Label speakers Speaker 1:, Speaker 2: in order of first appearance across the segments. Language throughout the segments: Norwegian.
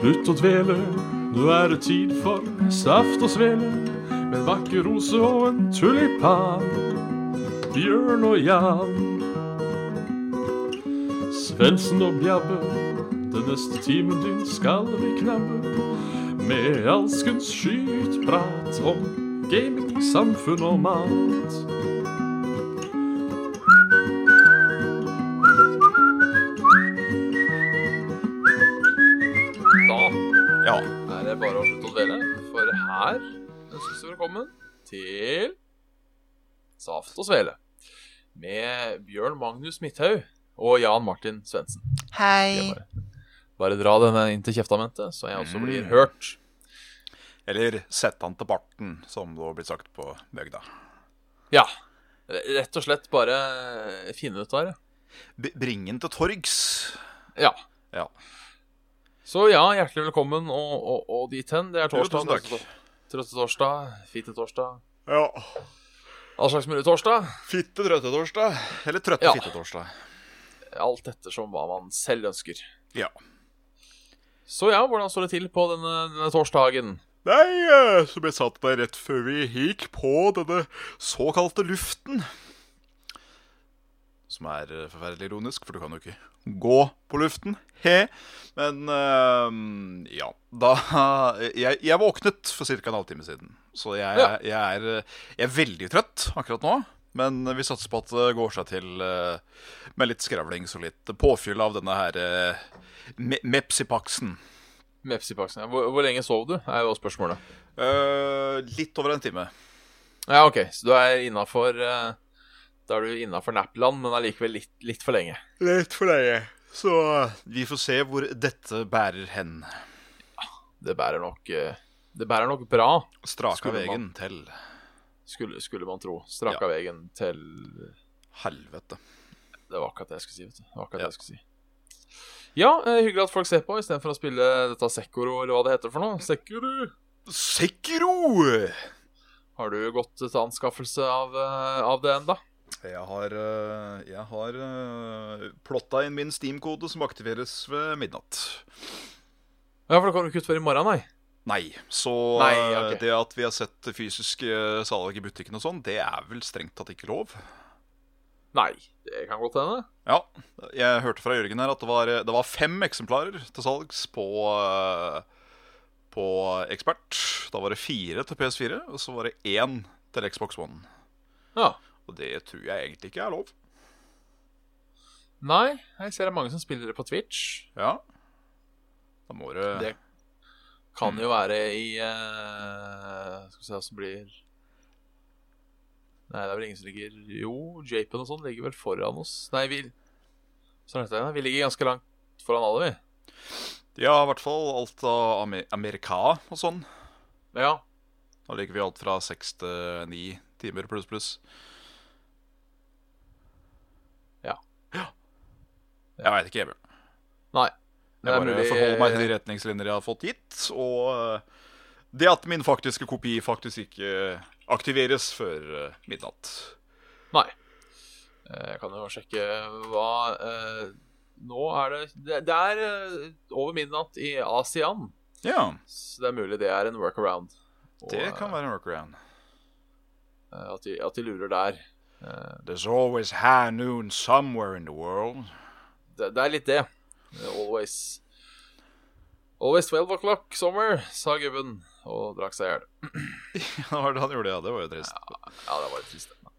Speaker 1: Slutt å dvele, nå er det tid for saft og svele. Med en vakker rose og en tulipan. Bjørn og Jan. Svendsen og Bjabbe, den neste timen din skal vi knabbe. Med alskens skytprat om gaming, samfunn og mat.
Speaker 2: Da
Speaker 3: Ja.
Speaker 2: er det bare å slutte å dvele, for her ønskes du velkommen til Saft og Svele. Med Bjørn Magnus Midthaug og Jan Martin Svendsen.
Speaker 4: Hei.
Speaker 2: Bare, bare dra denne inn til kjeftamentet, så jeg også
Speaker 3: Mm.
Speaker 2: blir hørt.
Speaker 3: Eller sett han til barten, som det blir sagt på bygda.
Speaker 2: Ja. Rett og slett bare eh, finne ut av det.
Speaker 3: B Bring han til torgs.
Speaker 2: Ja.
Speaker 3: Ja.
Speaker 2: Så ja, hjertelig velkommen og, og, og dit hen. Det er
Speaker 3: Jo,
Speaker 2: torsdag.
Speaker 3: tusen takk.
Speaker 2: trøste- Trøstetorsdag, fittetorsdag,
Speaker 3: Ja.
Speaker 2: all slags mulig torsdag.
Speaker 3: Fitte trøtte torsdag. Eller trøtte
Speaker 2: Ja.
Speaker 3: fitte torsdag.
Speaker 2: Alt ettersom hva man selv ønsker.
Speaker 3: Ja.
Speaker 2: Så ja, hvordan står det til på denne, denne torsdagen?
Speaker 3: Nei, eh, som jeg satt der rett før vi gikk på denne såkalte luften. Som er eh, forferdelig ironisk, for du kan jo ikke gå på luften. He. Men eh, ja. Da Jeg, jeg våknet for ca. en halvtime siden. Så jeg,
Speaker 2: Ja.
Speaker 3: jeg, er, eh, jeg er veldig trøtt akkurat nå. Men vi satser på at det går seg til eh, med litt skravling og litt påfyll av denne her eh, me Mepsipaksen.
Speaker 2: Med Pepsi-paksen. ja. Hvor, hvor lenge sov du, er jo spørsmålet.
Speaker 3: Eh, litt over en time.
Speaker 2: Ja, OK, så du er innafor eh, Da er du innafor Nappland, men allikevel litt, litt for lenge.
Speaker 3: Litt for lenge. Så eh, vi får se hvor dette bærer hen.
Speaker 2: Det bærer nok eh, Det bærer nok bra,
Speaker 3: Straka
Speaker 2: Skulle
Speaker 3: vegen
Speaker 2: man-
Speaker 3: til
Speaker 2: skulle, skulle man tro.
Speaker 3: Ja.
Speaker 2: Straka veien til
Speaker 3: helvete.
Speaker 2: Det var akkurat det jeg skulle si, vet du. Det var akkurat
Speaker 3: Ja.
Speaker 2: det jeg skulle si. Ja, eh, hyggelig at folk ser på, istedenfor å spille dette Sekoro, eller hva det heter for noe. Sekoro!
Speaker 3: Sekiro!
Speaker 2: Har du gått til anskaffelse av, eh, av det ennå?
Speaker 3: Jeg har, eh, jeg har eh, plotta inn min Steam-kode, som aktiveres ved midnatt.
Speaker 2: Ja, for det kommer jo ikke ut før i morgen, nei.
Speaker 3: Nei, så
Speaker 2: Nei,
Speaker 3: eh,
Speaker 2: ok.
Speaker 3: det at vi har sett fysiske salg i butikken og sånn, det er vel strengt tatt ikke lov.
Speaker 2: Nei, det kan godt hende.
Speaker 3: Ja, jeg hørte fra Jørgen her at det var, det var fem eksemplarer til salgs på, eh, på Expert. Da var det fire til PS4, og så var det én til Xbox One.
Speaker 2: Ja.
Speaker 3: Og det tror jeg egentlig ikke er lov.
Speaker 2: Nei, jeg ser det er mange som spiller det på Twitch.
Speaker 3: Ja. Da må du
Speaker 2: Det kan
Speaker 3: Mm.
Speaker 2: jo være i eh, Skal vi se hva som blir Nei, det er vel ingen som ligger Jo, Japen og sånn ligger vel foran oss. Nei, vi Sånn heter det. Vi ligger ganske langt foran alle, vi.
Speaker 3: Ja, i hvert fall alt av Amer Amerika og sånn.
Speaker 2: Men ja.
Speaker 3: Da ligger vi alt fra seks til ni timer pluss, pluss.
Speaker 2: Ja.
Speaker 3: Ja. Jeg veit ikke, jeg, Bjørn.
Speaker 2: Nei.
Speaker 3: Jeg bare forholder meg til de retningslinjer jeg har fått gitt, og eh, det at min faktiske kopi faktisk ikke aktiveres før eh, midnatt.
Speaker 2: Nei. Eh, Jeg kan jo sjekke hva eh, Nå er det Det, det er eh, over midnatt i ASEAN,
Speaker 3: Ja,
Speaker 2: så det er mulig det er en workaround. Og,
Speaker 3: det kan
Speaker 2: eh,
Speaker 3: være en workaround.
Speaker 2: Eh, At de, at de lurer der.
Speaker 3: There's always high noon somewhere in the world.
Speaker 2: Det, det er litt det. Eh, Always Always 12 o'clock summer, sa gubben og drakk seg i hjel.
Speaker 3: Ja, det var det han gjorde, ja. Det var jo trist.
Speaker 2: Ja, det var litt trist. det.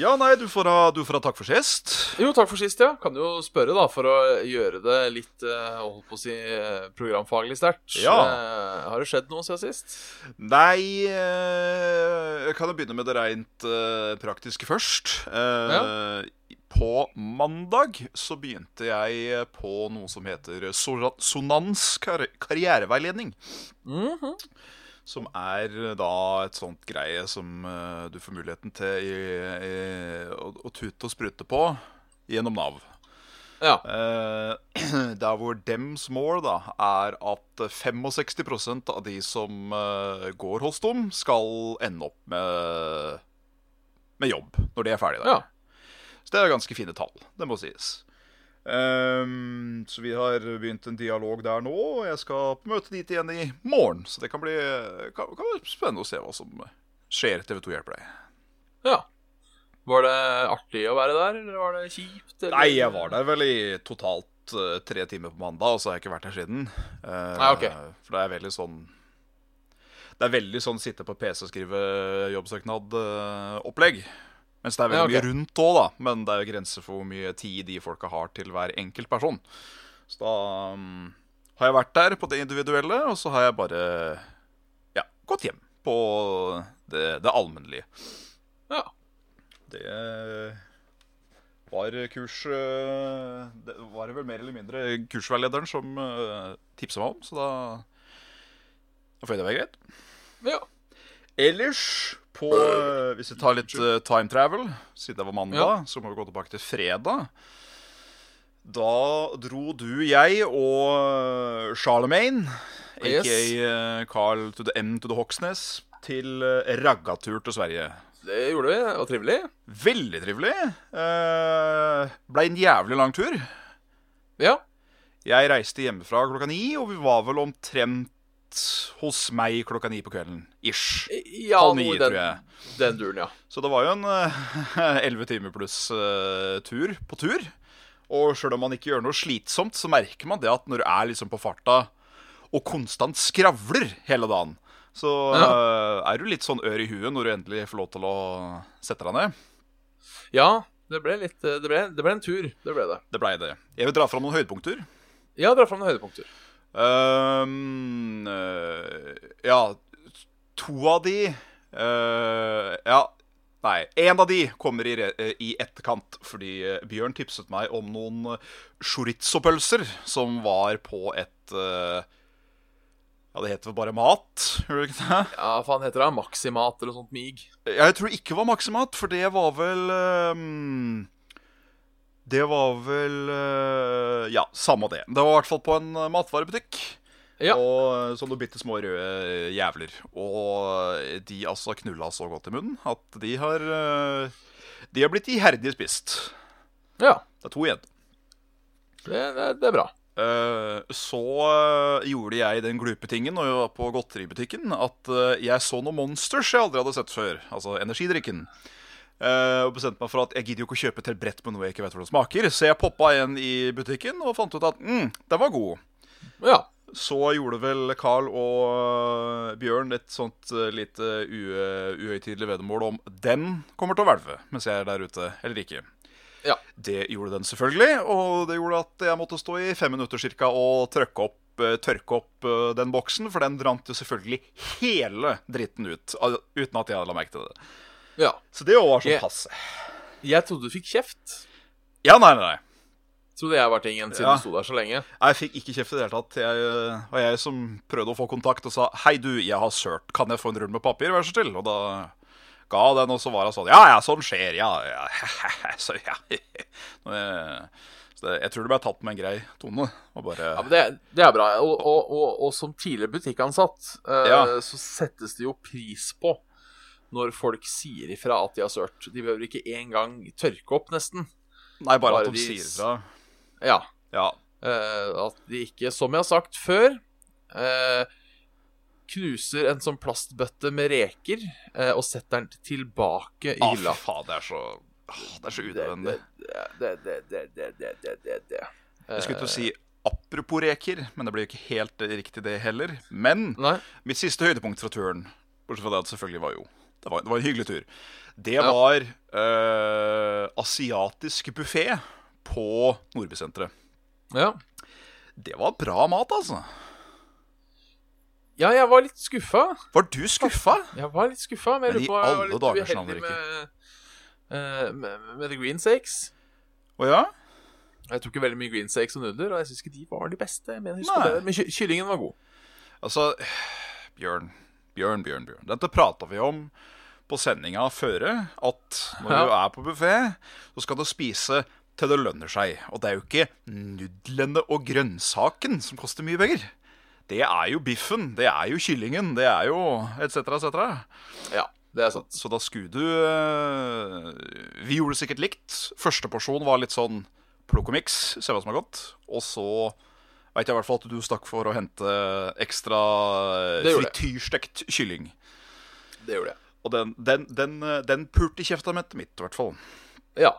Speaker 3: Ja, nei, du får ha, du får ha takk for sist.
Speaker 2: Jo, takk for sist, ja. Kan jo spørre, da, for å gjøre det litt eh, holdt på å si, eh, programfaglig sterkt.
Speaker 3: Ja.
Speaker 2: Eh, Har det skjedd noe siden sist?
Speaker 3: Nei eh, Jeg kan jo begynne med det rent eh, praktiske først. Eh, På mandag så begynte jeg på noe som heter Sora- Sonans kar karriereveiledning.
Speaker 2: Mhm.
Speaker 3: Som er eh, da et sånt greie som eh, du får muligheten til i, i, å, å tute og sprute på gjennom Nav.
Speaker 2: Ja.
Speaker 3: Eh, der hvor dems mål da, er at 65 av de som eh, går hos dem, skal ende opp med, med jobb når de er ferdig der.
Speaker 2: ja.
Speaker 3: Så det er ganske fine tall, det må sies. Ehm, så vi har begynt en dialog der nå, og jeg skal på møte dit igjen i morgen. Så det kan bli kan, kan være spennende å se hva som skjer. TV2 hjelper deg.
Speaker 2: Ja. Var det artig å være der, eller var det kjipt? Eller?
Speaker 3: Nei, jeg var der vel i totalt eh, tre timer på mandag, og så har jeg ikke vært der siden. Eh,
Speaker 2: Nei, ok.
Speaker 3: For det er veldig sånn Det er veldig sånn sitte på PC og skrive eh, jobbsøknad-opplegg. Mens det er veldig
Speaker 2: Ja, ok.
Speaker 3: mye rundt òg, da. Men det er jo grenser for hvor mye tid de folka har til hver enkelt person. Så da mm, har jeg vært der på det individuelle, og så har jeg bare ja, gått hjem på det, det allmennlige.
Speaker 2: Ja.
Speaker 3: Det var kurs eh, Det var det vel mer eller mindre kursveilederen som eh, tipsa meg om, så da Da får jeg det være greit.
Speaker 2: ja.
Speaker 3: Ellers, på eh, Hvis vi tar litt eh, time travel, siden det var mandag,
Speaker 2: Ja.
Speaker 3: så må vi gå tilbake til fredag. Da dro du, jeg og eh, Charlemagne,
Speaker 2: Yes.
Speaker 3: aka eh, Carl to the M to the Hoksnes, til eh, raggatur til Sverige.
Speaker 2: Det gjorde vi. Det var trivelig.
Speaker 3: Veldig trivelig. Eh, ble en jævlig lang tur.
Speaker 2: Ja.
Speaker 3: Jeg reiste hjemmefra klokka ni, og vi var vel omtrent hos meg klokka ni på kvelden. Ish.
Speaker 2: ja
Speaker 3: Halv ni,
Speaker 2: noe i
Speaker 3: tror jeg.
Speaker 2: Den duren, ja.
Speaker 3: Så det var jo en elleve timer pluss eh, tur på tur. Og sjøl om man ikke gjør noe slitsomt, så merker man det at når du er liksom på farta og konstant skravler hele dagen, så eh, er du litt sånn ør i huet når du endelig får lov til å sette deg ned.
Speaker 2: Ja, det ble litt eh, Det ble, det ble en tur. Det ble det.
Speaker 3: Det blei det. Jeg vil dra fram noen høydepunkter.
Speaker 2: Ja, dra fram noen høydepunkter.
Speaker 3: Ehm, eh, ja, to av de eh, Ja, nei, én av de kommer i, re- eh, i etterkant, fordi eh, Bjørn tipset meg om noen eh, chorizo-pølser som var på et eh, Ja, det heter vel bare mat, gjør det ikke det?
Speaker 2: Ja, hva faen heter det? Maximat eller noe sånt mig?
Speaker 3: Jeg tror ikke det var Maximat, for det var vel ehm, Det var vel eh, Ja, samme det. Det var i hvert fall på en eh, matvarebutikk.
Speaker 2: Ja.
Speaker 3: Og eh, sånne bitte små røde jævler. Og de altså knulla så godt i munnen at de har eh, De har blitt iherdig spist.
Speaker 2: Ja.
Speaker 3: Det er to igjen.
Speaker 2: Det, det, det er bra.
Speaker 3: Eh, så eh, gjorde jeg den glupe tingen når jeg var på godteributikken, at eh, jeg så noen monsters jeg aldri hadde sett før. Altså energidrikken. Eh, og bestemte meg for at jeg gidder jo ikke å kjøpe et helt brett med noe jeg ikke vet hvordan smaker. Så jeg poppa en i butikken og fant ut at mm, den var god.
Speaker 2: Ja.
Speaker 3: Så gjorde vel Carl og eh, Bjørn et sånt eh, lite ue- uhøytidelig veddemål om den kommer til å hvelve mens jeg er der ute, eller ikke.
Speaker 2: Ja.
Speaker 3: Det gjorde den selvfølgelig, og det gjorde at jeg måtte stå i fem minutter cirka og trykke opp, eh, tørke opp eh, den boksen, for den rant jo selvfølgelig hele dritten ut, al- uten at jeg hadde la merke til det.
Speaker 2: ja.
Speaker 3: Så det òg var
Speaker 2: Jeg-
Speaker 3: sånn passe.
Speaker 2: Jeg trodde du fikk kjeft.
Speaker 3: Ja, nei, nei, nei.
Speaker 2: Trodde jeg var tingen, siden
Speaker 3: Ja.
Speaker 2: du sto der så lenge.
Speaker 3: Jeg fikk ikke kjeft i det hele tatt. Jeg, øh, det var jeg som prøvde å få kontakt og sa Hei, du, jeg har sølt. Kan jeg få en rull med papir, vær så snill? Og da ga hun den, og så var hun sånn Ja, ja, sånn skjer, ja. ja. så ja. Nå, jeg- Så det, jeg tror det ble tatt med en grei tone. Og bare
Speaker 2: Ja, men det, det er bra. Og, og, og, og som tidligere butikkansatt eh,
Speaker 3: Ja.
Speaker 2: så settes det jo pris på når folk sier ifra at de har sølt. De behøver ikke engang tørke opp, nesten.
Speaker 3: Nei, bare at
Speaker 2: bare
Speaker 3: de
Speaker 2: de-
Speaker 3: sier fra.
Speaker 2: Ja.
Speaker 3: Ja.
Speaker 2: Eh, at de ikke, som jeg har sagt før, eh, knuser en sånn plastbøtte med reker eh, og setter den tilbake i
Speaker 3: Ah,
Speaker 2: hylla.
Speaker 3: fy faen, det er så ah, Det er så
Speaker 2: Det,
Speaker 3: unødvendig.
Speaker 2: det, det, det, det, det, det, det, det, det.
Speaker 3: Jeg
Speaker 2: eh.
Speaker 3: skulle til å si apropos reker, men det blir jo ikke helt riktig, det heller. Men
Speaker 2: Nei?
Speaker 3: Mitt siste høydepunkt fra turen, bortsett fra det at det selvfølgelig var jo Det var, det var en hyggelig tur. Det
Speaker 2: Ja.
Speaker 3: var eh, asiatisk buffé på Nordbysenteret.
Speaker 2: Ja.
Speaker 3: Det var bra mat, altså.
Speaker 2: ja, jeg var litt skuffa.
Speaker 3: Var du skuffa?
Speaker 2: Jeg var litt skuffa, men jeg
Speaker 3: Men i
Speaker 2: lurer på jeg var
Speaker 3: alle
Speaker 2: litt
Speaker 3: dager,
Speaker 2: uheldig
Speaker 3: Sandra,
Speaker 2: med, eh, med, med the green steaks.
Speaker 3: Å ja?
Speaker 2: Jeg tok jo veldig mye green steaks og nudler, og jeg syns ikke de var de beste. Men, jeg husker
Speaker 3: Nei.
Speaker 2: på det. men ky- kyllingen var god.
Speaker 3: Altså Bjørn, Bjørn, Bjørn. Bjørn. Dette prata vi om på sendinga føre. At når du er på buffé, så skal du spise til det lønner seg. Og det er jo ikke nudlene og grønnsaken som koster mye penger. Det er jo biffen, det er jo kyllingen, det er jo etc., etc.
Speaker 2: Ja, det er sant.
Speaker 3: Så da skulle du eh, Vi gjorde det sikkert likt. Første porsjon var litt sånn Plocomix, se hva som er godt. Og så veit jeg i hvert fall at du stakk for å hente ekstra eh,
Speaker 2: Det gjorde jeg.
Speaker 3: frityrstekt kylling.
Speaker 2: Det gjorde jeg.
Speaker 3: Og den, den, den, eh, den pulte i kjefta mitt, mitt, i hvert fall.
Speaker 2: Ja.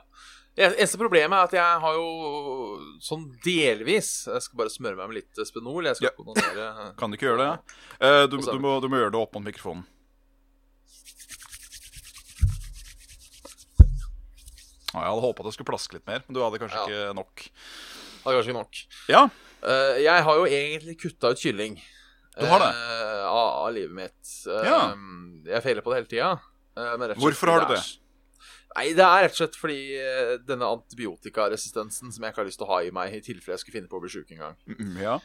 Speaker 2: Det eneste problemet er at jeg har jo sånn delvis Jeg skal bare smøre meg med litt Spenol. Jeg skal ikke onanere.
Speaker 3: Kan du ikke gjøre det? Eh, du,
Speaker 2: Og så-
Speaker 3: du, må, du må gjøre det opp mot mikrofonen. Ja, jeg hadde håpa det skulle plaske litt mer, men du hadde kanskje
Speaker 2: Ja.
Speaker 3: ikke nok.
Speaker 2: Har kanskje ikke nok.
Speaker 3: Ja,
Speaker 2: Eh, jeg har jo egentlig kutta ut kylling.
Speaker 3: Du har det?
Speaker 2: eh, av, av livet mitt. Eh,
Speaker 3: Ja.
Speaker 2: Jeg feiler på det hele tida. eh, men rett og slett
Speaker 3: Hvorfor har
Speaker 2: fordi
Speaker 3: du
Speaker 2: er s- Nei, Det er rett og slett fordi eh, denne antibiotikaresistensen som jeg ikke har lyst til å ha i meg i tilfelle jeg skulle finne på å bli sjuk en gang.
Speaker 3: mm, ja.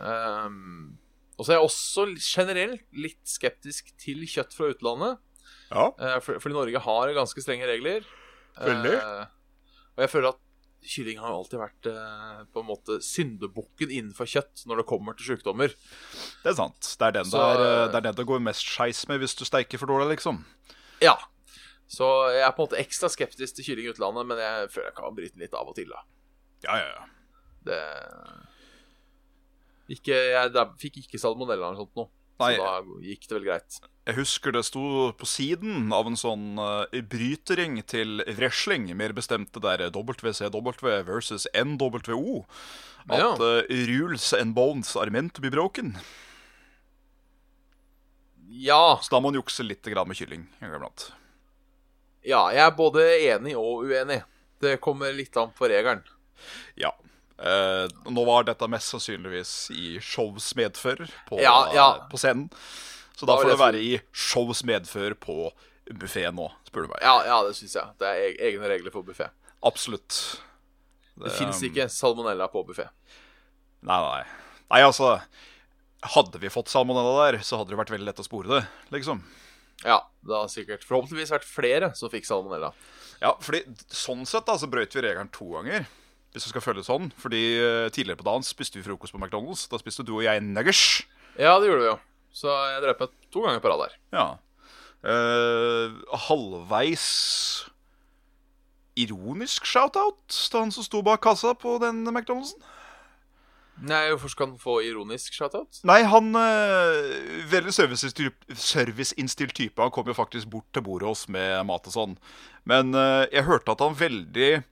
Speaker 2: Ehm, og så er jeg også l- generelt litt skeptisk til kjøtt fra utlandet.
Speaker 3: ja.
Speaker 2: eh, for, fordi Norge har ganske strenge regler.
Speaker 3: Veldig.
Speaker 2: Eh, og jeg føler at kylling har jo alltid vært eh, på en måte syndebukken innenfor kjøtt når det kommer til sykdommer.
Speaker 3: Det er sant. Det er den
Speaker 2: Så,
Speaker 3: det, er,
Speaker 2: eh,
Speaker 3: det, er den det går mest skeis med hvis du steiker for dårlig, liksom.
Speaker 2: Ja. Så jeg er på en måte ekstra skeptisk til kylling i utlandet, men jeg føler jeg kan bryte den litt av og til, da.
Speaker 3: Ja, ja, ja.
Speaker 2: Det ikke, Jeg da, fikk ikke salmonella eller sånt noe, så
Speaker 3: Nei,
Speaker 2: da gikk det vel greit.
Speaker 3: jeg husker det sto på siden av en sånn eh, brytering til wrestling, mer bestemt det der WCW versus NWO, at
Speaker 2: Ja.
Speaker 3: eh, rules and bones are meant to be broken.
Speaker 2: Ja.
Speaker 3: Så da må man jukse litt grann med kylling. en gang iblant.
Speaker 2: Ja, jeg er både enig og uenig. Det kommer litt an på regelen.
Speaker 3: Ja. Eh, nå var dette mest sannsynligvis i shows medfører på,
Speaker 2: Ja, ja.
Speaker 3: på scenen. Så
Speaker 2: Da
Speaker 3: da
Speaker 2: vil
Speaker 3: får
Speaker 2: jeg
Speaker 3: det være i shows medfører på buffeen nå, spør du meg.
Speaker 2: Ja, ja det syns jeg. Det er e- egne regler for buffé.
Speaker 3: Absolutt.
Speaker 2: Det fins ikke salmonella på buffé.
Speaker 3: um, Nei, nei. Nei, altså Hadde vi fått salmonella der, så hadde det vært veldig lett å spore det, liksom.
Speaker 2: Ja, det har sikkert forhåpentligvis vært flere som fikk salmonella.
Speaker 3: Ja, fordi sånn sett da, så brøyt vi regelen to ganger. Hvis du skal følge det sånn. Fordi eh, tidligere på dagen spiste vi frokost på McDonald's. Da spiste du og jeg nuggers.
Speaker 2: Ja, det gjorde vi jo. Så jeg drep meg to ganger på rad der.
Speaker 3: Ja. Eh, halvveis ironisk shout-out til han som sto bak kassa på den McDonald'sen.
Speaker 2: Nei, hvorfor skal den få ironisk shoutout?
Speaker 3: Nei, han eh, Veldig serviceinnstilt serviceinnstilt type. Han kom jo faktisk bort til bordet hos med mat og sånn. Men eh, jeg hørte at han veldig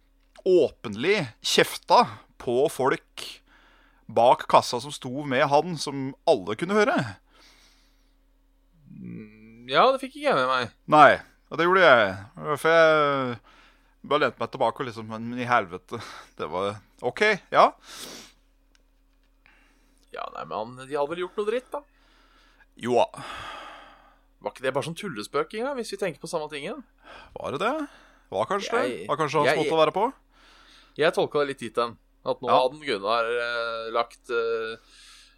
Speaker 3: åpenlig kjefta på folk bak kassa som sto med han, som alle kunne høre.
Speaker 2: Mm, Ja, det fikk ikke jeg med meg.
Speaker 3: Nei, og det gjorde jeg. For jeg bare lente meg tilbake og liksom Men i helvete. Det var OK, ja.
Speaker 2: Ja, nei, men han, De hadde vel gjort noe dritt, da?
Speaker 3: Jo da.
Speaker 2: Var ikke det bare sånn tullespøk engang, hvis vi tenker på samme tingen?
Speaker 3: Var det det? Var kanskje det?
Speaker 2: Jeg-
Speaker 3: Var kanskje hans
Speaker 2: jeg-
Speaker 3: måte å være på?
Speaker 2: Jeg tolka det litt dit hen. At nå
Speaker 3: Ja.
Speaker 2: hadde Gunnar eh, lagt eh,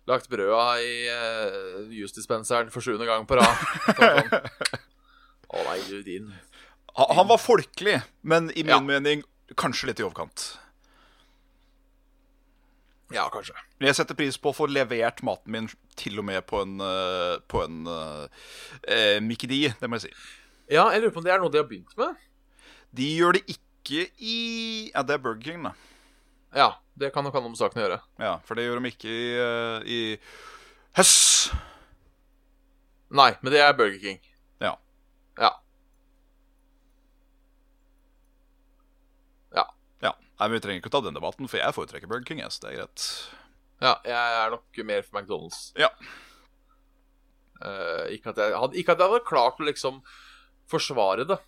Speaker 2: Lagt brøda i eh, jusdispenseren for sjuende gang på rad. Så var det sånn, Å nei, du din
Speaker 3: Han, han var folkelig, men i min
Speaker 2: Ja.
Speaker 3: mening kanskje litt i overkant.
Speaker 2: Ja, kanskje.
Speaker 3: Men jeg setter pris på å få levert maten min til og med på en, eh, på en eh, eh, Mickey D, det må jeg si.
Speaker 2: Ja, jeg lurer på om det er noe de har begynt med?
Speaker 3: De gjør det ikke i Ja, det er Burger King, da.
Speaker 2: Ja, det kan nok ha noe med saken å gjøre.
Speaker 3: Ja, For det gjør de ikke i, eh, i Høss.
Speaker 2: Nei, men det er Burger King.
Speaker 3: Ja.
Speaker 2: Ja.
Speaker 3: Ja, Nei, men Vi trenger ikke å ta den debatten, for jeg foretrekker Burger King. jeg, så det er greit
Speaker 2: Ja, jeg er nok mer for McDonald's.
Speaker 3: Ja.
Speaker 2: Eh, ikke, at jeg hadde, ikke at jeg hadde klart å liksom forsvare det.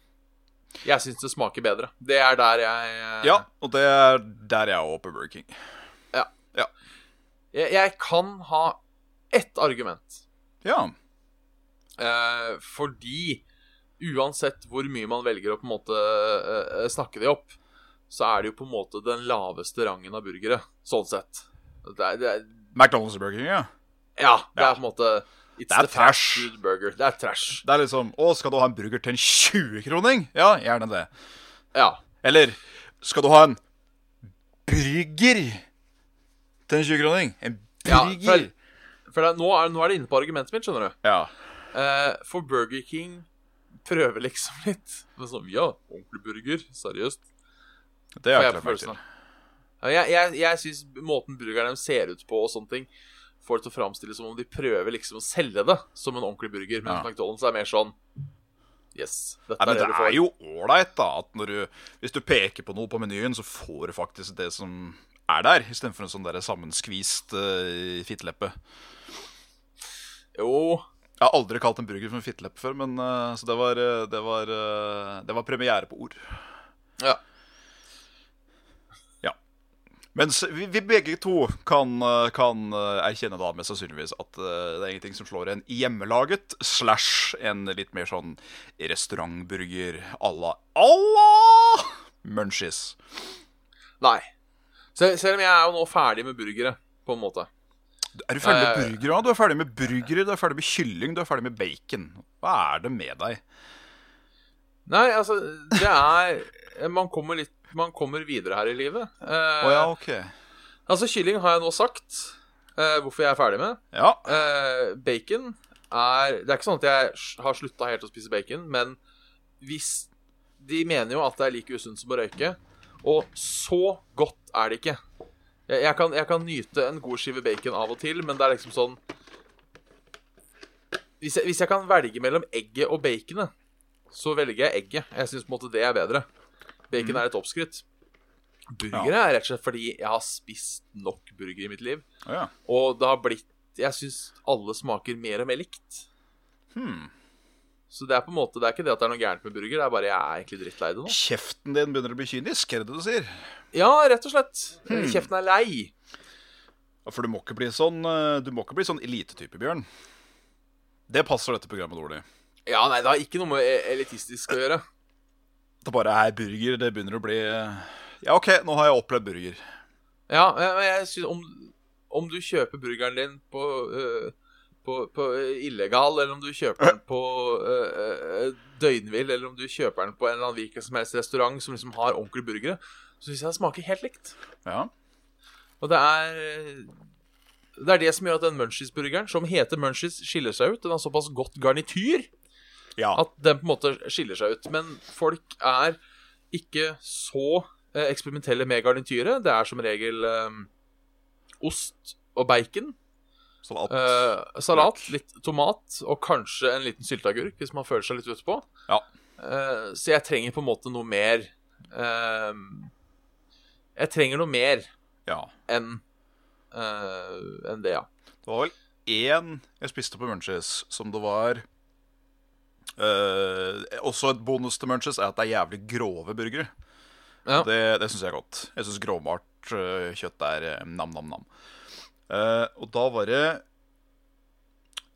Speaker 2: Jeg syns det smaker bedre. Det er der jeg eh,
Speaker 3: Ja, Og det er der jeg er også på Burger King.
Speaker 2: jeg, jeg kan ha ett argument.
Speaker 3: Ja,
Speaker 2: Eh, fordi uansett hvor mye man velger å på en måte eh, eh, snakke det opp, så er det jo på en måte den laveste rangen av burgere, sånn sett. Det er, det er,
Speaker 3: McDonald's og Burger King, ja.
Speaker 2: ja, det
Speaker 3: Ja.
Speaker 2: er på en måte It's
Speaker 3: Det er
Speaker 2: the fast
Speaker 3: trash.
Speaker 2: food burger. Det er trash.
Speaker 3: Det er liksom Å, skal du ha en burger til en 20-kroning? Ja, gjerne det.
Speaker 2: Ja.
Speaker 3: Eller skal du ha en burger til en 20-kroning? En
Speaker 2: Ja,
Speaker 3: burger?
Speaker 2: følg. For det, er- nå, er, nå er det inne på argumentet mitt, skjønner du.
Speaker 3: Ja.
Speaker 2: Eh, for Burger King prøver liksom litt. Men sånn, ja, ordentlig burger. Seriøst.
Speaker 3: Det har jeg ikke
Speaker 2: får jeg på
Speaker 3: lagt merke til.
Speaker 2: følelsen av. Ja, Jeg, jeg, jeg syns måten burgeren deres ser ut på og sånne ting, får det til å framstilles som om de prøver liksom å selge det som en ordentlig burger. Men
Speaker 3: Ja.
Speaker 2: McDonald's er mer sånn Yes, dette
Speaker 3: Nei, men
Speaker 2: er
Speaker 3: det
Speaker 2: det du får.
Speaker 3: er jo ålreit, da, at når du, hvis du peker på noe på menyen, så får du faktisk det som er der, istedenfor en sånn der sammenskvist uh, fitteleppe.
Speaker 2: jo
Speaker 3: Jeg har aldri kalt en burger for en fitteleppe før, men eh, så det var, eh, det, var, eh, det var premiere på ord.
Speaker 2: Ja.
Speaker 3: Ja. Mens vi, vi begge to kan, eh, kan eh, erkjenne da mest sannsynligvis at eh, det er ingenting som slår en hjemmelaget slash en litt mer sånn restaurantburger à la Allah Munchies.
Speaker 2: Nei. Sel selv om jeg er jo nå ferdig med burgere, på en måte.
Speaker 3: Er du ferdig
Speaker 2: Ja, ja,
Speaker 3: med
Speaker 2: ja.
Speaker 3: burgere? Du er ferdig med burgere, du er ferdig med kylling, du er ferdig med bacon. Hva er det med deg?
Speaker 2: Nei, altså, det er Man kommer litt Man kommer videre her i livet. Eh,
Speaker 3: Å ja, ok.
Speaker 2: Altså, kylling har jeg nå sagt eh, hvorfor jeg er ferdig med.
Speaker 3: Ja.
Speaker 2: Eh, bacon er Det er ikke sånn at jeg s- har slutta helt å spise bacon, men hvis De mener jo at det er like usunt som å røyke, og så godt er det ikke. Jeg, jeg, kan, jeg kan nyte en god skive bacon av og til, men det er liksom sånn Hvis jeg, hvis jeg kan velge mellom egget og baconet, så velger jeg egget. Jeg syns på en måte det er bedre. Bacon er et oppskritt. Burgere er rett og slett fordi jeg har spist nok burger i mitt liv.
Speaker 3: Å ja.
Speaker 2: Og det har blitt Jeg syns alle smaker mer og mer likt.
Speaker 3: Hmm.
Speaker 2: Så det er på en måte Det er ikke det at det er noe gærent med burger, det er bare jeg er egentlig drittlei det nå.
Speaker 3: Kjeften din begynner å bli kynisk, er det det du sier?
Speaker 2: Ja, rett og slett. Kjeften er lei.
Speaker 3: Ja, For du må ikke bli sånn eh, Du må ikke bli sånn elitetype, Bjørn. Det passer dette programmet dårlig.
Speaker 2: Ja, nei, det har ikke noe med e- elitistisk å gjøre.
Speaker 3: Det bare er burger. Det begynner å bli eh, Ja, OK, nå har jeg opplevd burger.
Speaker 2: Ja, men jeg synes om, om du kjøper burgeren din på, øh, på, på øh, illegal, eller om du kjøper den på øh, øh, døgnvill, eller om du kjøper den på en eller annen hvilken som helst restaurant som liksom har ordentlige burgere, så syns jeg det smaker helt likt.
Speaker 3: Ja.
Speaker 2: Og det er eh, Det er det som gjør at den Munchies-burgeren, som heter Munchies, skiller seg ut. Den har såpass godt garnityr
Speaker 3: ja.
Speaker 2: at den på en måte skiller seg ut. Men folk er ikke så eh, eksperimentelle med garnityret. Det er som regel eh, ost og bacon,
Speaker 3: Sånn at
Speaker 2: eh, salat, litt tomat og kanskje en liten sylteagurk hvis man føler seg litt utpå.
Speaker 3: Ja.
Speaker 2: Eh, så jeg trenger på en måte noe mer eh, Jeg trenger noe mer
Speaker 3: Ja.
Speaker 2: enn eh, enn det, ja.
Speaker 3: Det var vel én jeg spiste på Munchies som det var eh, Også et bonus til Munchies er at det er jævlig grove burgere.
Speaker 2: Ja.
Speaker 3: Det, det syns jeg er godt. Jeg syns grovmalt eh, kjøtt er eh, nam-nam-nam. Eh, og da var det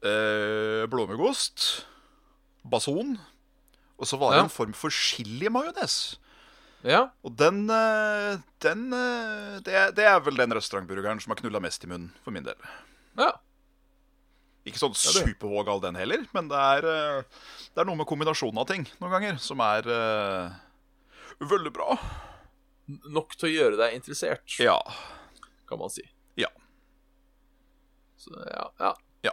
Speaker 3: eh, blåmuggost, bason, og så var det
Speaker 2: Ja.
Speaker 3: en form for chili-majones.
Speaker 2: ja.
Speaker 3: Og den, eh, den eh, det, er- det er vel den restaurantburgeren som har knulla mest i munnen, for min del.
Speaker 2: Ja.
Speaker 3: Ikke sånn
Speaker 2: Ja, det.
Speaker 3: supervågal den heller, men det er, eh, det er noe med kombinasjonen av ting noen ganger som er eh, veldig bra.
Speaker 2: N- Nok til å gjøre deg interessert,
Speaker 3: Ja.
Speaker 2: kan man si.
Speaker 3: Ja.
Speaker 2: Så ja. Ja.
Speaker 3: Ja.
Speaker 2: Ja,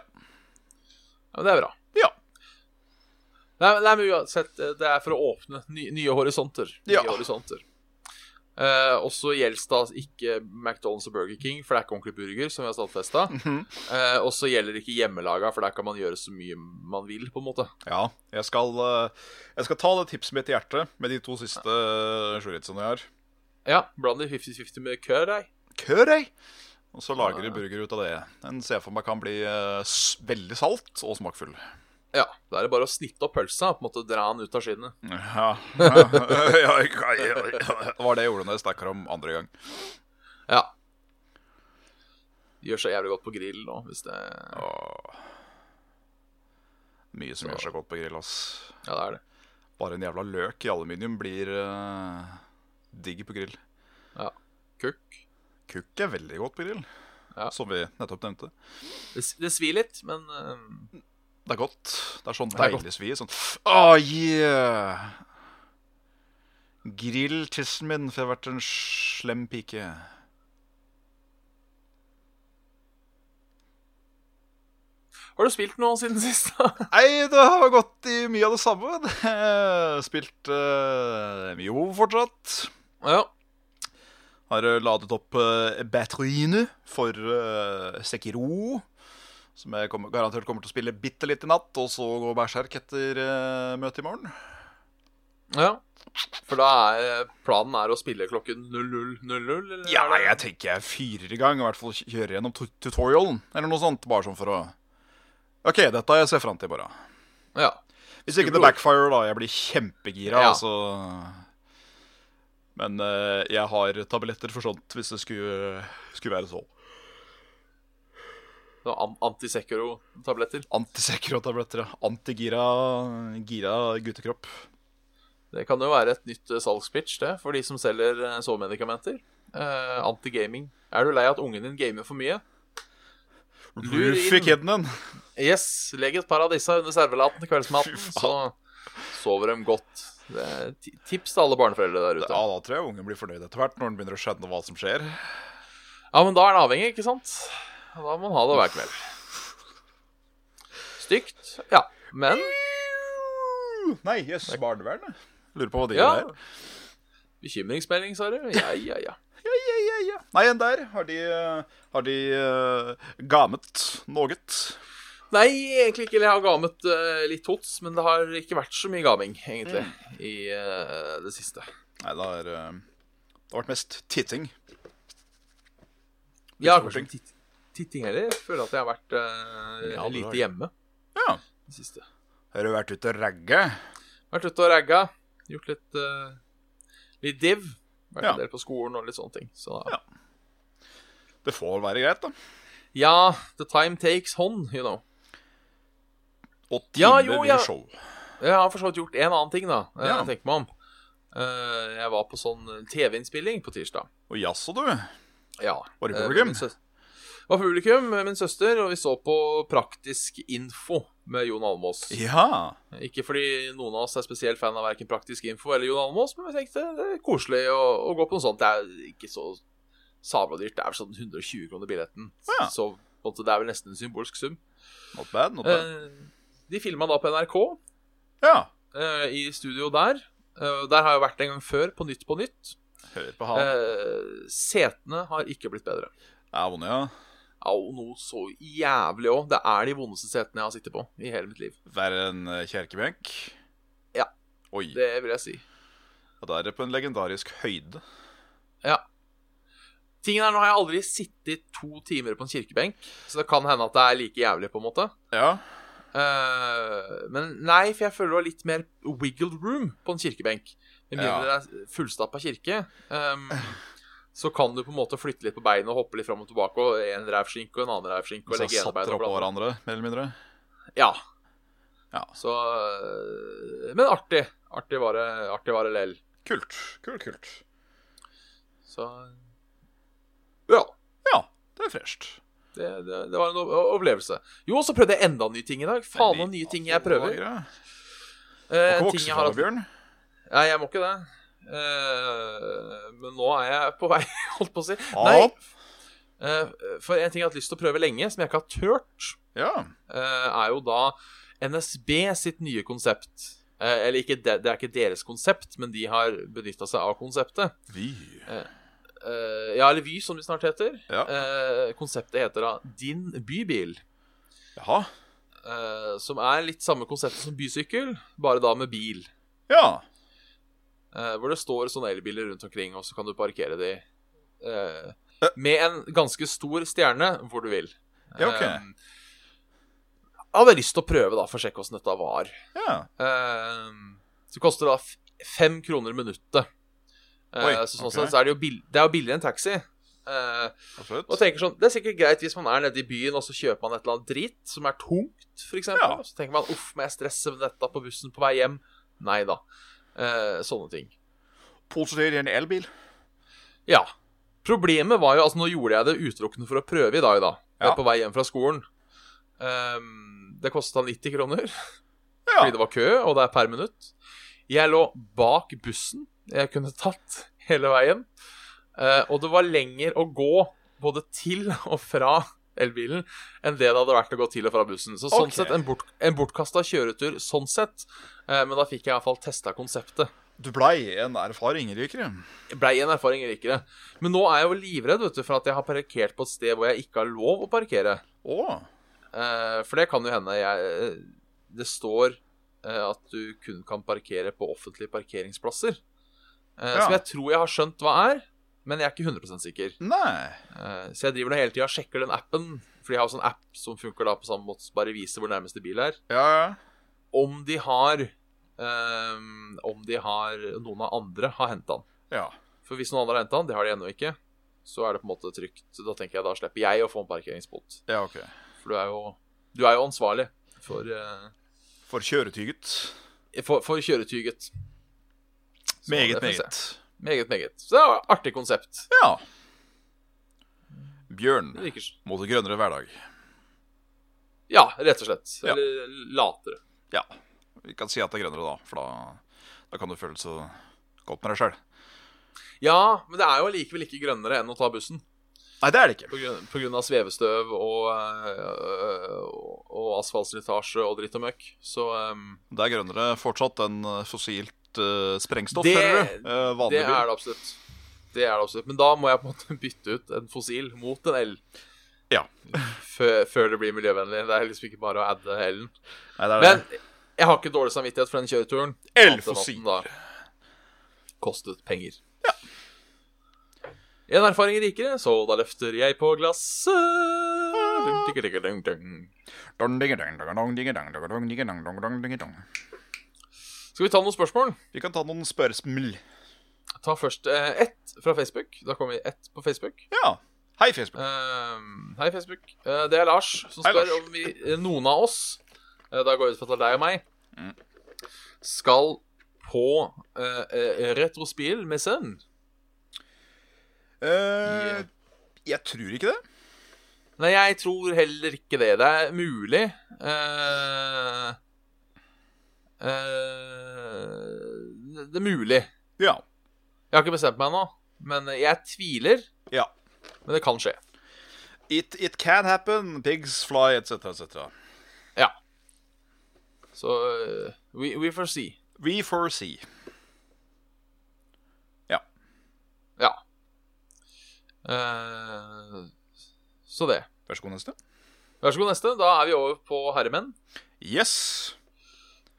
Speaker 2: Men det er bra.
Speaker 3: Ja.
Speaker 2: Nei, men- nei, men uansett, eh, det er for å åpne ny, nye horisonter. Nye
Speaker 3: Ja.
Speaker 2: horisonter. Eh, og så gjelder da ikke McDonald's og Burger King, for det er ikke ordentlig burger, som vi har stadfesta.
Speaker 3: Mhm.
Speaker 2: eh, og så gjelder det ikke hjemmelaga, for der kan man gjøre så mye man vil, på en måte.
Speaker 3: ja. Jeg, skal, eh, jeg skal ta det tipset mitt til hjertet med de to siste eh, sjuritsene jeg har.
Speaker 2: Ja, bland det 50-50 med kør, deg.
Speaker 3: Kørøy! Og så lager de burger ut av det. Den ser jeg for meg kan bli eh, s- veldig salt og smakfull.
Speaker 2: Ja. Da er det bare å snitte opp pølsa, på en måte dra den ut av skinnet.
Speaker 3: Ja. ja, ja, ja, ja. Det var det jeg gjorde når jeg snakka om andre gang.
Speaker 2: Ja. Gjør seg jævlig godt på grill nå, hvis det Ja,
Speaker 3: Åh. Mye som gjør seg godt på grill, ass.
Speaker 2: det er det.
Speaker 3: Bare en jævla løk i aluminium blir eh, digg på grill.
Speaker 2: Kukk.
Speaker 3: Kukk er veldig godt på grill,
Speaker 2: Ja.
Speaker 3: som vi nettopp nevnte.
Speaker 2: Det, s- det svir litt, men eh,
Speaker 3: Det er godt. Det er sånn
Speaker 2: er
Speaker 3: deilig svi. Sånn oh, yeah! Grill tissen min, for jeg har vært en slem pike.
Speaker 2: Har du spilt noe siden sist, da?
Speaker 3: Nei, det har gått i mye av det samme. Spilt eh, mye WoW fortsatt.
Speaker 2: ja.
Speaker 3: Har eh, ladet opp eh, batteriene for eh, Sekiro, som jeg kommer, garantert kommer til å spille bitte litt i natt, og så gå berserk etter eh, møtet i morgen.
Speaker 2: Ja. For da er planen er å spille klokken 00.00? eller?
Speaker 3: Ja, nei, jeg tenker jeg fyrer i gang, i hvert fall kjører gjennom tu- tutorialen, eller noe sånt, bare sånn for å OK, dette har jeg ser fram til i morgen.
Speaker 2: ja.
Speaker 3: Hvis ikke det backfire, da. Jeg blir kjempegira.
Speaker 2: Ja.
Speaker 3: Altså. Men eh, jeg har tabletter for sånt, hvis det skulle, skulle være sånn.
Speaker 2: Sånn an- Antisekro-tabletter.
Speaker 3: Antisekro-tabletter. ja. Antigira gira guttekropp.
Speaker 2: Det kan jo være et nytt eh, salgspitch det, for de som selger eh, sovemedikamenter. Eh, Antigaming. Er du lei av at ungen din gamer for mye? Lur
Speaker 3: Roof i
Speaker 2: inn.
Speaker 3: kiden din.
Speaker 2: Yes, legg et par av disse under servelaten til kveldsmaten,
Speaker 3: Fy
Speaker 2: så sover de godt. Det er ti- tips til alle barneforeldre der
Speaker 3: Ja,
Speaker 2: ute.
Speaker 3: da tror jeg ungen blir fornøyd etter hvert, når han begynner å skjønne hva som skjer.
Speaker 2: Ja, men da er den avhengig, ikke sant? Da må man ha det hver kveld. Stygt, ja. Men
Speaker 3: Nei, jøss, barnevernet. Lurer på hva de
Speaker 2: ja.
Speaker 3: gjør der.
Speaker 2: Bekymringsmelding, sa du? Ja, ja, ja.
Speaker 3: Ja, ja, ja, ja. Nei, enn der har de, eh, har de eh, gamet noget.
Speaker 2: Nei, egentlig ikke. Jeg har gamet eh, litt hots, men det har ikke vært så mye gaming, egentlig,
Speaker 3: Mm.
Speaker 2: i eh, det siste.
Speaker 3: Nei, det har, eh, det har vært mest titting.
Speaker 2: Jeg har
Speaker 3: småting.
Speaker 2: kanskje titt titting heller. Jeg føler at jeg har vært eh,
Speaker 3: Ja, det har
Speaker 2: lite
Speaker 3: jeg.
Speaker 2: hjemme
Speaker 3: Ja.
Speaker 2: det siste.
Speaker 3: Har du vært ute og ragge?
Speaker 2: Vært ute og ragga. Gjort litt, eh, litt div. Vært
Speaker 3: Ja.
Speaker 2: en del på skolen og litt sånne ting. Så
Speaker 3: Ja. Det får være greit, da.
Speaker 2: ja, the time takes hånd, you know.
Speaker 3: Og
Speaker 2: Ja,
Speaker 3: timer
Speaker 2: jo,
Speaker 3: blir
Speaker 2: ja.
Speaker 3: show.
Speaker 2: Jeg har for så vidt gjort en annen ting, da. eh,
Speaker 3: Ja.
Speaker 2: Jeg tenker meg om. Eh, jeg var på sånn TV-innspilling på tirsdag.
Speaker 3: Og jaså, du.
Speaker 2: Ja.
Speaker 3: Var det
Speaker 2: eh,
Speaker 3: publikum?
Speaker 2: min søs- Det var publikum, eh, min søster, og vi så på Praktisk info med Jon Almås.
Speaker 3: Ja.
Speaker 2: Ikke fordi noen av oss er spesielt fan av verken Praktisk info eller Jon Almås, men vi tenkte det er koselig å, å gå på noe sånt. Det er ikke så sabla dyrt. Det er vel sånn 120 kroner billetten.
Speaker 3: Ja.
Speaker 2: Så på en måte, det er vel nesten en symbolsk sum.
Speaker 3: Not bad, not bad.
Speaker 2: Eh, de filma da på NRK.
Speaker 3: ja.
Speaker 2: eh, i studio der. Eh, der har jeg vært en gang før, på Nytt på Nytt.
Speaker 3: Hør på han.
Speaker 2: Eh, setene har ikke blitt bedre.
Speaker 3: Jeg er vond, ja.
Speaker 2: Au, noe så jævlig òg. Det er de vondeste setene jeg har sittet på i hele mitt liv.
Speaker 3: Verre enn eh, kjerkebenk?
Speaker 2: Ja.
Speaker 3: Oi.
Speaker 2: Det vil jeg si.
Speaker 3: ja, Da er det på en legendarisk høyde.
Speaker 2: Tingen er, Nå har jeg aldri sittet to timer på en kirkebenk, så det kan hende at det er like jævlig, på en måte.
Speaker 3: Ja.
Speaker 2: Eh, men nei, for jeg føler det var litt mer wiggle room på en kirkebenk. Med
Speaker 3: Ja.
Speaker 2: mindre det er fullstappa kirke, ehm, så kan du på en måte flytte litt på beina og hoppe litt fram og tilbake, og en rævskink og en annen rævskink og
Speaker 3: Så
Speaker 2: legge
Speaker 3: satt
Speaker 2: ene beinet
Speaker 3: dere
Speaker 2: opp
Speaker 3: oppå
Speaker 2: blant-
Speaker 3: hverandre, mer eller mindre.
Speaker 2: Ja.
Speaker 3: Ja.
Speaker 2: Så øh, Men artig. Artig var det, artig var det lell.
Speaker 3: Kult. Kult, kult.
Speaker 2: Så Ja.
Speaker 3: Ja, det er fresht.
Speaker 2: Det, det, det var en o- opplevelse. Jo, og så prøvde jeg enda nye ting i dag. Faen noen nye ting jeg prøver.
Speaker 3: Du kan
Speaker 2: Eh, ting
Speaker 3: vokse
Speaker 2: jeg
Speaker 3: fra
Speaker 2: har
Speaker 3: deg,
Speaker 2: hatt
Speaker 3: Bjørn.
Speaker 2: Nei, jeg må ikke det. Eh, men nå er jeg på vei, holdt på å si.
Speaker 3: Ja.
Speaker 2: Nei. eh, for en ting jeg har hatt lyst til å prøve lenge, som jeg ikke har turt,
Speaker 3: Ja.
Speaker 2: eh, er jo da NSB sitt nye konsept. Eh, eller ikke, det, det er ikke deres konsept, men de har benytta seg av konseptet.
Speaker 3: Vi.
Speaker 2: Eh, ja, eller Vy, som de snart heter.
Speaker 3: Ja.
Speaker 2: Eh, konseptet heter da Din bybil.
Speaker 3: Jaha.
Speaker 2: eh, som er litt samme konseptet som bysykkel, bare da med bil.
Speaker 3: Ja.
Speaker 2: Eh, hvor det står sånne elbiler rundt omkring, og så kan du parkere de eh, med en ganske stor stjerne hvor du vil.
Speaker 3: Ja, ok.
Speaker 2: Eh, jeg hadde lyst til å prøve, da, for å sjekke åssen dette var.
Speaker 3: Ja.
Speaker 2: Eh, så koster det da f- fem kroner minuttet. Eh,
Speaker 3: Oi,
Speaker 2: så sånn
Speaker 3: ok.
Speaker 2: sett så er det jo, bill det er jo billigere enn taxi. Eh,
Speaker 3: Absolutt.
Speaker 2: Og tenker sånn, Det er sikkert greit hvis man er nede i byen og så kjøper man et eller annet drit som er tungt. For eksempel,
Speaker 3: Ja.
Speaker 2: og Så tenker man uff, må jeg stresse med dette på bussen på vei hjem? Nei da. Eh, sånne ting.
Speaker 3: Positivt i en elbil.
Speaker 2: Ja. Problemet var jo altså Nå gjorde jeg det utelukkende for å prøve i dag, da.
Speaker 3: Ja.
Speaker 2: På vei hjem fra skolen. Ehm, det kosta 90 kroner
Speaker 3: Ja.
Speaker 2: fordi det var kø, og det er per minutt. Jeg lå bak bussen jeg kunne tatt hele veien. eh, og det var lenger å gå både til og fra elbilen enn det det hadde vært å gå til og fra bussen. Så sånn
Speaker 3: Ok.
Speaker 2: sett en, bort, en bortkasta kjøretur sånn sett. eh, men da fikk jeg iallfall testa konseptet.
Speaker 3: Du blei en erfaring rikere.
Speaker 2: Jeg blei en erfaring rikere. Men nå er jeg jo livredd vet du, for at jeg har parkert på et sted hvor jeg ikke har lov å parkere.
Speaker 3: Å,
Speaker 2: Eh, for det kan jo hende jeg, eh, Det står eh, at du kun kan parkere på offentlige parkeringsplasser. Eh,
Speaker 3: Ja.
Speaker 2: Som jeg tror jeg har skjønt hva er, men jeg er ikke 100 sikker.
Speaker 3: nei.
Speaker 2: Eh, så jeg driver nå hele tida og sjekker den appen. For de har jo sånn app som funker da på samme måte, som bare viser hvor nærmeste bil er.
Speaker 3: Ja, ja.
Speaker 2: Om de har ehm, Om de har noen av andre har henta den.
Speaker 3: Ja.
Speaker 2: For hvis noen andre har henta den, det har de ennå ikke, så er det på en måte trygt. Så Da tenker jeg da slipper jeg å få en parkeringsbot.
Speaker 3: ja, ok.
Speaker 2: For du er jo, du er jo ansvarlig for, eh,
Speaker 3: For kjøretyget.
Speaker 2: for, for kjøretyget. Så
Speaker 3: Meget,
Speaker 2: det får jeg
Speaker 3: meget.
Speaker 2: se. Meget, meget. Så det er jo et artig konsept.
Speaker 3: Ja. Bjørn
Speaker 2: Det virker s-
Speaker 3: mot en grønnere hverdag.
Speaker 2: Ja, rett og slett.
Speaker 3: Ja.
Speaker 2: Eller latere.
Speaker 3: Ja. Vi kan si at det er grønnere, da. For da, da kan du føle så godt med deg sjøl.
Speaker 2: Ja, men det er jo allikevel ikke grønnere enn å ta bussen.
Speaker 3: Nei, det er det ikke.
Speaker 2: På grunn, på grunn av svevestøv og, øh, og, og asfaltslitasje og dritt og møkk. Så ehm, øhm,
Speaker 3: Det er grønnere fortsatt enn eh, fossilt eh, sprengstoff,
Speaker 2: Det-
Speaker 3: hører du. Eh, vanlig
Speaker 2: det er
Speaker 3: bil.
Speaker 2: det absolutt. Det er det absolutt. Men da må jeg på en måte bytte ut en fossil mot en el.
Speaker 3: Ja.
Speaker 2: Før, før det blir miljøvennlig. Det er liksom ikke bare å adde el-en.
Speaker 3: Nei, det er
Speaker 2: Men jeg har ikke dårlig samvittighet for den kjøreturen.
Speaker 3: Elfossil.
Speaker 2: Annet enn at den da Kostet penger. En erfaring rikere, så da løfter jeg på glasset. Dum, digga, digga, dum, dum.
Speaker 3: Vi
Speaker 2: Skal vi ta noen spørsmål?
Speaker 3: kan ta noen spørsmål.
Speaker 2: Ta først eh, ett fra Facebook. Da kommer vi ett på Facebook.
Speaker 3: Ja. Hei, Facebook.
Speaker 2: Eh, hei, Facebook. Eh, det er Lars som
Speaker 3: Hei,
Speaker 2: spør
Speaker 3: Lars.
Speaker 2: om vi, eh, noen av oss eh, Da går jeg ut fra at det er deg og meg.
Speaker 3: Mm.
Speaker 2: Skal på eh, eh, retrospill med sønn.
Speaker 3: Eh, jeg tror ikke det.
Speaker 2: Nei, jeg tror heller ikke det. Det er mulig. Eh, eh, det er mulig.
Speaker 3: Ja.
Speaker 2: Jeg har ikke bestemt meg ennå, men jeg tviler.
Speaker 3: Ja.
Speaker 2: Men det kan skje.
Speaker 3: It, it can happen. Pigs fly, etc., etc.
Speaker 2: Så eh, we, we får see.
Speaker 3: We foresee.
Speaker 2: Ja. Eh, så det.
Speaker 3: Vær så god, neste.
Speaker 2: Vær så god, neste. Da er vi over på herremenn.
Speaker 3: Yes.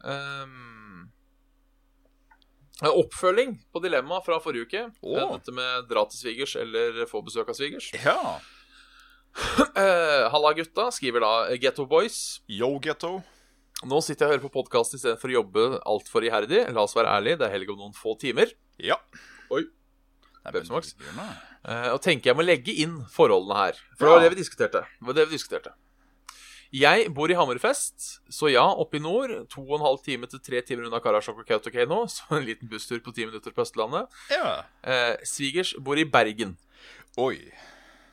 Speaker 2: Ehm, eh, oppfølging på dilemmaet fra forrige uke.
Speaker 3: Åh.
Speaker 2: Eh, Dette med dra til svigers eller få besøk av svigers.
Speaker 3: Ja.
Speaker 2: Eh, Halla, gutta, skriver da Getto Boys.
Speaker 3: Yo, getto.
Speaker 2: Nå sitter jeg og hører på podkast istedenfor å jobbe altfor iherdig. La oss være ærlig, det er helg om noen få timer.
Speaker 3: Ja.
Speaker 2: Oi.
Speaker 3: Nei, men
Speaker 2: Pepsi Max.
Speaker 3: Bjørn, da.
Speaker 2: Eh, og tenker jeg må legge inn forholdene her. For det var
Speaker 3: Ja.
Speaker 2: det vi diskuterte. Det var det vi diskuterte. Jeg bor i Hammerfest, så ja, oppe i nord. To og en halv time til tre timer unna Karasjok og Kautokeino, så en liten busstur på ti minutter på Østlandet.
Speaker 3: Ja.
Speaker 2: Eh, svigers bor i Bergen.
Speaker 3: Oi.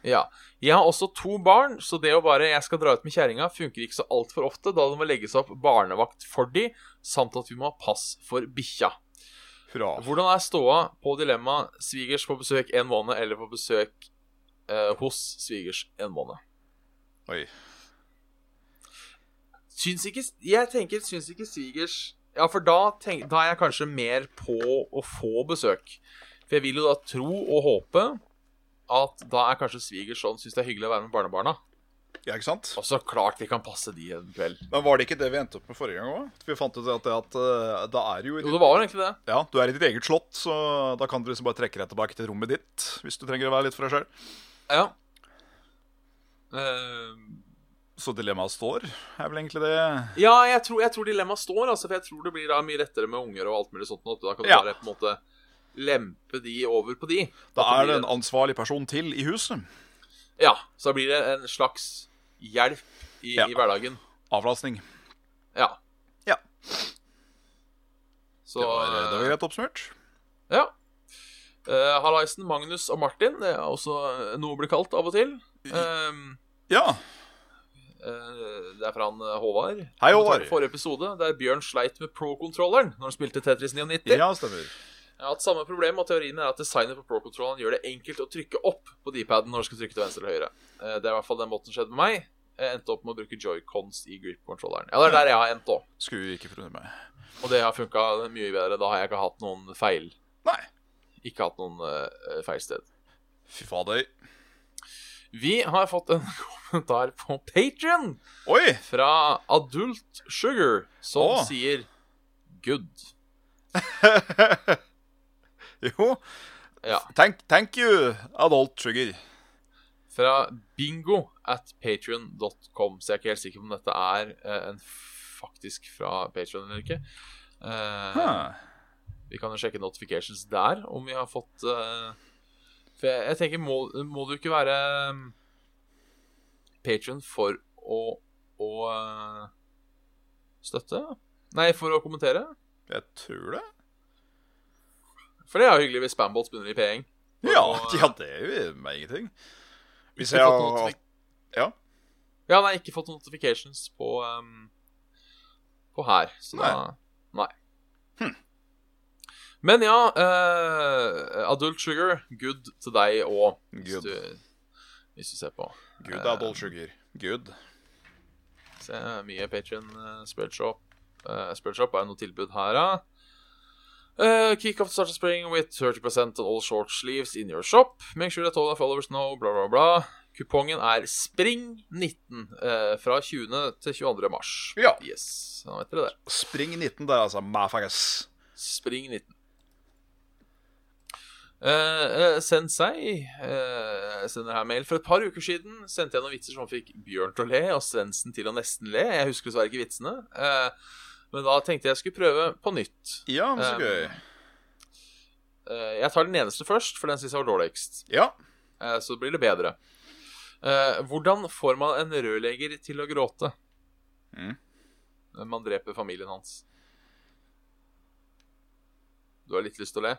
Speaker 2: Ja. Jeg har også to barn, så det å bare jeg skal dra ut med kjerringa, funker ikke så altfor ofte, da det må legges opp barnevakt for de, samt at vi må ha pass for bikkja.
Speaker 3: Hurra.
Speaker 2: Hvordan er ståa på dilemmaet svigers på besøk en måned eller på besøk eh, hos svigers en måned?
Speaker 3: Oi.
Speaker 2: Syns ikke Jeg tenker syns ikke svigers Ja, for da, tenk, da er jeg kanskje mer på å få besøk. For jeg vil jo da tro og håpe at da er kanskje svigers sånn syns det er hyggelig å være med barnebarna.
Speaker 3: Ja, ikke sant?
Speaker 2: Og så klart vi kan passe de en kveld.
Speaker 3: Men var det ikke det vi endte opp med forrige gang òg? Vi fant ut at, at eh, da er jo i
Speaker 2: Jo, det var jo egentlig det.
Speaker 3: Ja, du er i ditt eget slott, så da kan du liksom bare trekke deg tilbake til rommet ditt. Hvis du trenger å være litt for deg sjøl.
Speaker 2: Ja. Eh,
Speaker 3: Så dilemmaet står, er vel egentlig det.
Speaker 2: Ja, jeg tror, jeg tror dilemmaet står, altså, for jeg tror det blir da mye lettere med unger og alt mulig sånt. nå, at Da kan du
Speaker 3: Ja.
Speaker 2: bare på en måte lempe de over på de.
Speaker 3: Da
Speaker 2: At
Speaker 3: er det
Speaker 2: blir
Speaker 3: en ansvarlig person til i huset.
Speaker 2: Ja, så da blir det en slags hjelp i,
Speaker 3: Ja.
Speaker 2: i hverdagen.
Speaker 3: Avlastning.
Speaker 2: Ja.
Speaker 3: Ja.
Speaker 2: Så
Speaker 3: Det var, eh, det var greit oppsummert.
Speaker 2: Ja. Eh, Hallaisen, Magnus og Martin, det er også noe blir kalt av og til. Ehm,
Speaker 3: Ja.
Speaker 2: eh, det er fra han eh, Håvard.
Speaker 3: Hei, Håvard.
Speaker 2: Forrige episode, der Bjørn sleit med pro-controlleren når han spilte Tetris 99.
Speaker 3: Ja, stemmer.
Speaker 2: Jeg har hatt samme problem, og teorien er at designet på Pro-kontrolleren gjør det enkelt å trykke opp på D-paden når du skal trykke til venstre eller høyre. Eh, Det er i hvert fall den måten som skjedde med meg. Jeg endte opp med å bruke joycons i grip-kontrolleren. Ja, det er der jeg har endt òg.
Speaker 3: Skulle ikke forundre meg.
Speaker 2: Og det har funka mye bedre. Da har jeg ikke hatt noen feil.
Speaker 3: Nei.
Speaker 2: Ikke hatt noen eh, feil sted.
Speaker 3: Fy fader.
Speaker 2: Vi har fått en kommentar på Patrion
Speaker 3: Oi!
Speaker 2: fra Adult Sugar, som
Speaker 3: Å.
Speaker 2: sier good.
Speaker 3: jo.
Speaker 2: Ja.
Speaker 3: Thank, thank you, adult sugar.
Speaker 2: Fra bingo at patrion.com. Så jeg er ikke helt sikker på om dette er eh, en faktisk fra Patrion eller ikke. Eh,
Speaker 3: Huh.
Speaker 2: Vi kan jo sjekke notifications der, om vi har fått eh, For jeg, jeg tenker, må, må du ikke være um, patron for å, å eh, støtte? Nei, for å kommentere?
Speaker 3: Jeg tror det.
Speaker 2: For det er jo hyggelig hvis Spambolt begynner i P1.
Speaker 3: Ja, ja det gjør meg ingenting. Hvis
Speaker 2: Ikke
Speaker 3: jeg
Speaker 2: fått notifik-
Speaker 3: har Ja.
Speaker 2: Ja, nei, ikke fått notifications på um, På her. Så nei. da Nei. Men ja, eh, Adult Sugar, good til deg òg, hvis,
Speaker 3: Good.
Speaker 2: du- hvis du ser på.
Speaker 3: Good adult sugar. Good.
Speaker 2: Så jeg har mye Patreon eh, Spillshop. Eh, Spillshop er jo noe tilbud her, da. Eh, kick off the start of spring with 30% on all short sleeves in your shop. Make sure that all our followers know, bla, bla, bla. Kupongen er SPRING19 eh, fra 20. til 22. mars.
Speaker 3: Ja.
Speaker 2: Yes, da vet dere det.
Speaker 3: Spring 19 der, altså. Maffagas.
Speaker 2: Spring19. Uh, Sensei eh, sender her mail. For et par uker siden sendte jeg noen vitser som fikk Bjørn til å le og Svendsen til å nesten le. Jeg husker dessverre ikke vitsene. eh, men da tenkte jeg skulle prøve på nytt.
Speaker 3: Ja, men så
Speaker 2: Um,
Speaker 3: gøy.
Speaker 2: Eh, jeg tar den eneste først, for den syns jeg var dårligst.
Speaker 3: Ja.
Speaker 2: Eh, så blir det bedre. Eh, hvordan får man en rørlegger til å gråte?
Speaker 3: Mm.
Speaker 2: Eh, Man dreper familien hans. Du har litt lyst til å le?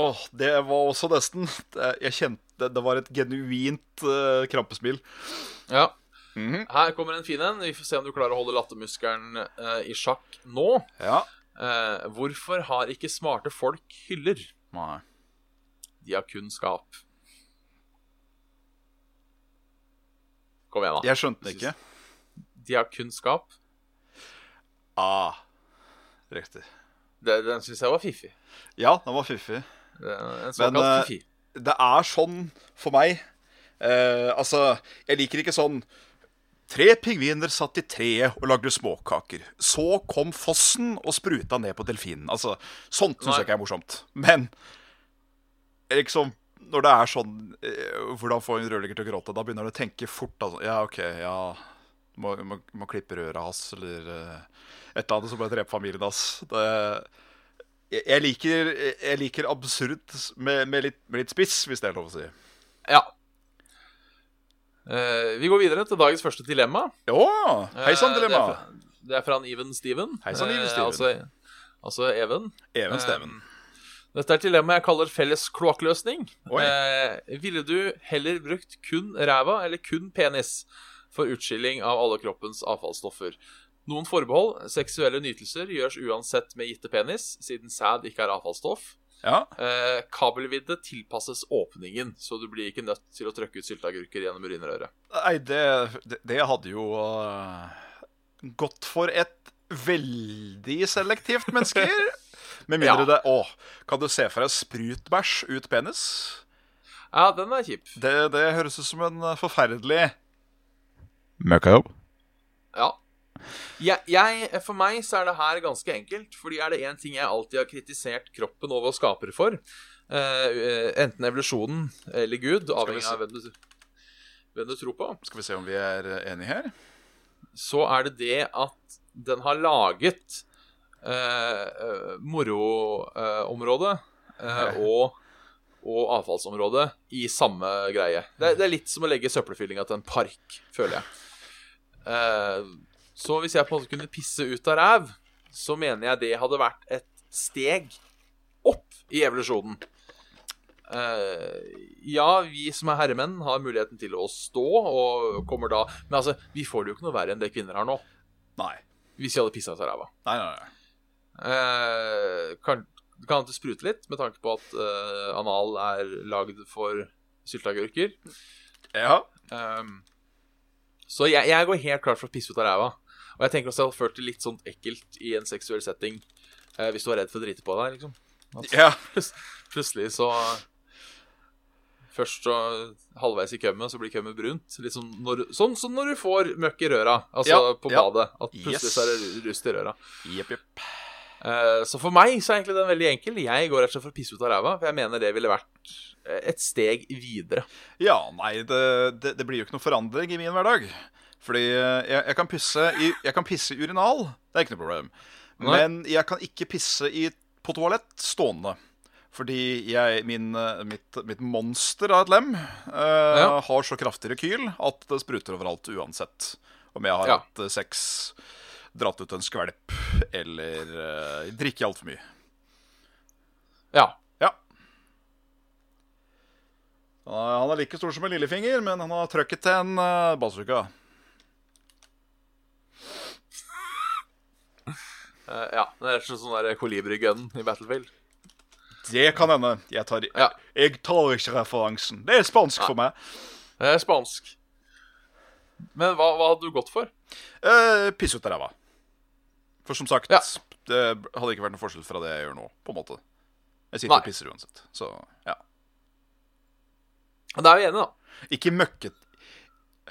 Speaker 3: Åh, det var også nesten Det- Jeg kjente Det var et genuint eh, krampesmil.
Speaker 2: Ja.
Speaker 3: Mhm.
Speaker 2: Her kommer en fin en. Vi får se om du klarer å holde lattermuskelen eh, i sjakk nå.
Speaker 3: Ja.
Speaker 2: Eh, hvorfor har ikke smarte folk hyller?
Speaker 3: Nei.
Speaker 2: De har kun skap. Kom igjen, da.
Speaker 3: Jeg skjønte det ikke.
Speaker 2: De har kun skap.
Speaker 3: Ah. Riktig.
Speaker 2: Det, den syns jeg var fiffig.
Speaker 3: Ja, den var fiffig.
Speaker 2: Det er En
Speaker 3: Men,
Speaker 2: såkalt
Speaker 3: eh,
Speaker 2: fiffig.
Speaker 3: det er sånn for meg eh, Altså, jeg liker ikke sånn Tre pingviner satt i treet og lagde småkaker. Så kom fossen og spruta ned på delfinen. Altså, Sånt syns
Speaker 2: Nei.
Speaker 3: jeg ikke er morsomt. Men liksom når det er sånn eh, Hvordan få en rørlegger til å gråte? Da begynner han å tenke fort. Altså. Ja, OK, ja Må, må, må klippe røret hans, eller eh, et eller annet som bare dreper familien hans. Det, jeg, jeg, liker, jeg liker absurd med, med, litt, med litt spiss, hvis det er lov å si.
Speaker 2: Ja. Eh, vi går videre til dagens første dilemma.
Speaker 3: Ja! Hei sann,
Speaker 2: Eh,
Speaker 3: dilemma.
Speaker 2: Det er, fra, det er fra en Even Steven.
Speaker 3: Hei sann, Even
Speaker 2: Eh,
Speaker 3: Steven.
Speaker 2: altså, altså Even.
Speaker 3: Even Steven.
Speaker 2: Eh, Dette er et dilemma jeg kaller felles kloakkløsning.
Speaker 3: Oi.
Speaker 2: Eh, ville du heller brukt kun ræva eller kun penis for utskilling av alle kroppens avfallsstoffer? Noen forbehold. Seksuelle nytelser gjøres uansett med gitte penis, siden sæd ikke er avfallsstoff.
Speaker 3: Ja.
Speaker 2: Eh, kabelvidde tilpasses åpningen, så du blir ikke nødt til å trøkke ut sylteagurker gjennom urinrøret.
Speaker 3: Nei, det, det, det hadde jo eh, gått for et veldig selektivt mennesker. Med mindre
Speaker 2: Ja.
Speaker 3: det Å, kan du se for deg sprutbæsj ut penis?
Speaker 2: Ja, den er kjip.
Speaker 3: Det, det høres ut som en forferdelig Møkkajobb.
Speaker 2: Ja. Jeg, jeg, for meg så er det her ganske enkelt. Fordi er det én ting jeg alltid har kritisert kroppen og våre skapere for, eh, enten evolusjonen eller Gud,
Speaker 3: vi
Speaker 2: avhengig
Speaker 3: se-
Speaker 2: av hvem du, hvem du tror på,
Speaker 3: Skal vi se om vi er enige her.
Speaker 2: så er det det at den har laget eh, moroområdet eh, og, og avfallsområdet i samme greie. Det, er- det er litt som å legge søppelfyllinga til en park, føler jeg. Eh, så hvis jeg på en måte kunne pisse ut av ræv, så mener jeg det hadde vært et steg opp i evolusjonen. Eh, ja, vi som er herremenn, har muligheten til å stå og kommer da Men altså, vi får det jo ikke noe verre enn det kvinner har nå,
Speaker 3: Nei.
Speaker 2: hvis vi hadde pissa ut av ræva.
Speaker 3: Nei, nei, nei.
Speaker 2: Eh, kan, kan det sprute litt, med tanke på at eh, anal er lagd for sylteagurker.
Speaker 3: Ja.
Speaker 2: Ehm, så jeg, jeg går helt klart for å pisse ut av ræva. Og jeg tenker også at det førte litt sånn ekkelt i en seksuell setting. eh, hvis du var redd for å drite på deg, liksom.
Speaker 3: Ja.
Speaker 2: Plutselig så Først så halvveis i kømmet, så blir kømmet brunt. Litt sånn, når, sånn som når du får møkk i røra, altså
Speaker 3: Ja,
Speaker 2: på
Speaker 3: ja.
Speaker 2: badet. At plutselig
Speaker 3: Yes.
Speaker 2: så er det rust i røra.
Speaker 3: Jepp, jepp.
Speaker 2: Eh, Så for meg så er egentlig den veldig enkel. Jeg går rett og slett for å pisse ut av ræva, for jeg mener det ville vært eh, et steg videre.
Speaker 3: Ja, nei, det, det, det blir jo ikke noe forandring i min hverdag. Fordi eh, jeg, jeg, kan pisse i, jeg kan pisse i urinal, det er ikke noe problem.
Speaker 2: Nei.
Speaker 3: Men jeg kan ikke pisse i, på toalett stående. Fordi jeg, min, eh, mitt, mitt monster av et lem eh,
Speaker 2: Ja.
Speaker 3: har så kraftig rekyl at det spruter overalt uansett. Om jeg har
Speaker 2: Ja.
Speaker 3: hatt eh, sex, dratt ut en skvelp eller eh, drikke altfor mye.
Speaker 2: Ja.
Speaker 3: Ja. Han er- Han er like stor som en lillefinger, men han har trøkket til en uh, bazooka.
Speaker 2: Eh, ja. Det er rett og slett sånn der kolibrigun i Battlefield.
Speaker 3: Det kan hende. Jeg tar,
Speaker 2: Ja.
Speaker 3: jeg tar ikke referansen. Det er spansk for meg.
Speaker 2: Det er Eh, spansk. Men hva, hva hadde du gått for?
Speaker 3: Uh, Piss ut av ræva. For som sagt,
Speaker 2: Ja.
Speaker 3: det hadde ikke vært noen forskjell fra det jeg gjør nå, på en måte. Jeg sitter
Speaker 2: Nei.
Speaker 3: og pisser uansett. Så ja.
Speaker 2: Da er vi enige, da.
Speaker 3: Ikke møkket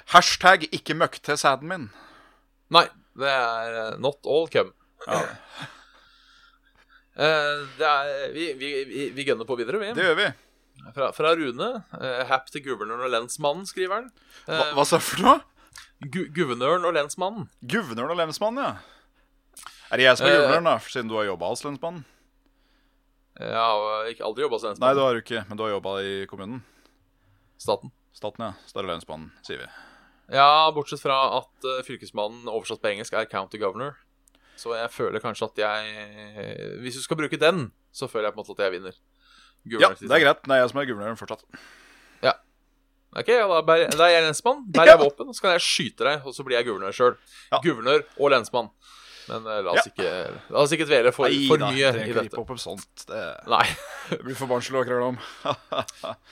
Speaker 3: Hashtag 'ikke møkk til sæden min'.
Speaker 2: Nei, det er eh, not all cum.
Speaker 3: Ja,
Speaker 2: Eh, det er, vi, vi, vi, vi gønner på videre, vi.
Speaker 3: det gjør vi.
Speaker 2: Fra, fra Rune. eh, Happ til guvernøren og lensmannen, skriver han.
Speaker 3: Hva,
Speaker 2: Eh,
Speaker 3: hva sa du for noe?
Speaker 2: gu, guvernøren og lensmannen.
Speaker 3: Guvernøren og lensmannen, ja. Er det jeg som er
Speaker 2: Eh,
Speaker 3: guvernøren, da? Siden du har jobba hos lensmannen?
Speaker 2: Jeg har ikke aldri jobba som
Speaker 3: Nei,
Speaker 2: lensmann.
Speaker 3: det har du ikke, men du har jobba i kommunen.
Speaker 2: Staten.
Speaker 3: Staten, ja. Så da er det lensmannen, sier vi.
Speaker 2: Ja, bortsett fra at eh, fylkesmannen oversatt på engelsk er county governor. Så jeg føler kanskje at jeg eh, Hvis du skal bruke den, så føler jeg på en måte at jeg vinner. sånn.
Speaker 3: Ja, det er greit. Det er jeg som er guvernøren fortsatt.
Speaker 2: Ok, ja, da, bærer, da er jeg lensmann. Bærer jeg våpen, og så kan jeg skyte deg, og så blir jeg guvernør sjøl.
Speaker 3: Ja.
Speaker 2: Guvernør og lensmann. Men eh, la, oss
Speaker 3: Ja.
Speaker 2: ikke, la oss ikke dvele for, for
Speaker 3: da,
Speaker 2: mye
Speaker 3: trenger ikke
Speaker 2: i
Speaker 3: rippe
Speaker 2: dette.
Speaker 3: opp om sånt. Det
Speaker 2: Nei.
Speaker 3: blir for barnslig å krangle om.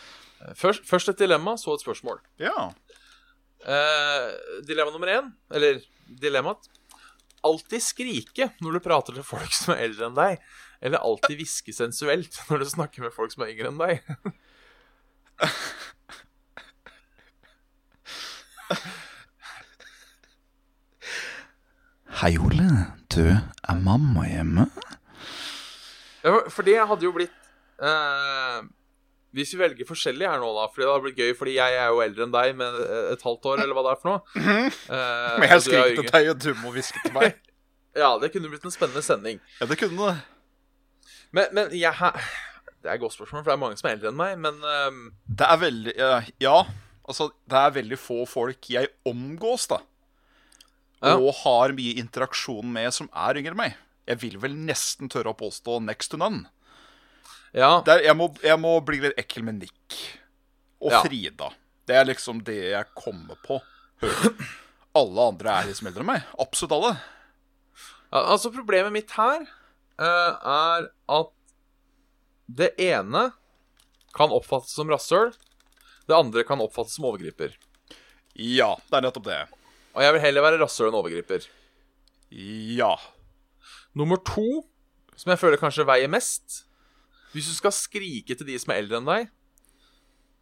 Speaker 2: Først, først et dilemma, så et spørsmål.
Speaker 3: ja.
Speaker 2: Eh, dilemma nummer én, eller dilemmaet Alltid skrike når du prater til folk som er eldre enn deg, eller alltid hviske sensuelt når du snakker med folk som er yngre enn deg.
Speaker 3: Hei, Ole. Du, er mamma hjemme?
Speaker 2: Ja, for- For det hadde jo blitt eh, Hvis vi velger forskjellig her nå, da Fordi det hadde blitt gøy, fordi jeg er jo eldre enn deg med eh, et halvt år, eller hva det er for noe. Eh,
Speaker 3: Mhm. Men jeg
Speaker 2: og du er
Speaker 3: skriker til
Speaker 2: yngre.
Speaker 3: deg, og du må hviske til meg.
Speaker 2: Ja, det kunne blitt en spennende sending.
Speaker 3: Ja, det kunne det.
Speaker 2: Men, men jeg ha- Det er et godt spørsmål, for det er mange som er eldre enn meg, men ehm,
Speaker 3: Det er veldig eh, Ja, altså, det er veldig få folk jeg omgås, da.
Speaker 2: Ja.
Speaker 3: Og har mye interaksjon med som er yngre enn meg. Jeg vil vel nesten tørre å påstå next to none.
Speaker 2: ja.
Speaker 3: Det er, jeg, må, jeg må bli litt ekkel med Nick og
Speaker 2: Ja.
Speaker 3: Frida. Det er liksom det jeg kommer på. Hør. Alle andre er liksom eldre enn meg. Absolutt alle.
Speaker 2: Ja, altså Problemet mitt her eh, er at det ene kan oppfattes som rasshøl. Det andre kan oppfattes som overgriper.
Speaker 3: Ja, det er nettopp det.
Speaker 2: Og jeg vil heller være rasshøl enn overgriper.
Speaker 3: Ja.
Speaker 2: Nummer to, som jeg føler kanskje veier mest Hvis du skal skrike til de som er eldre enn deg,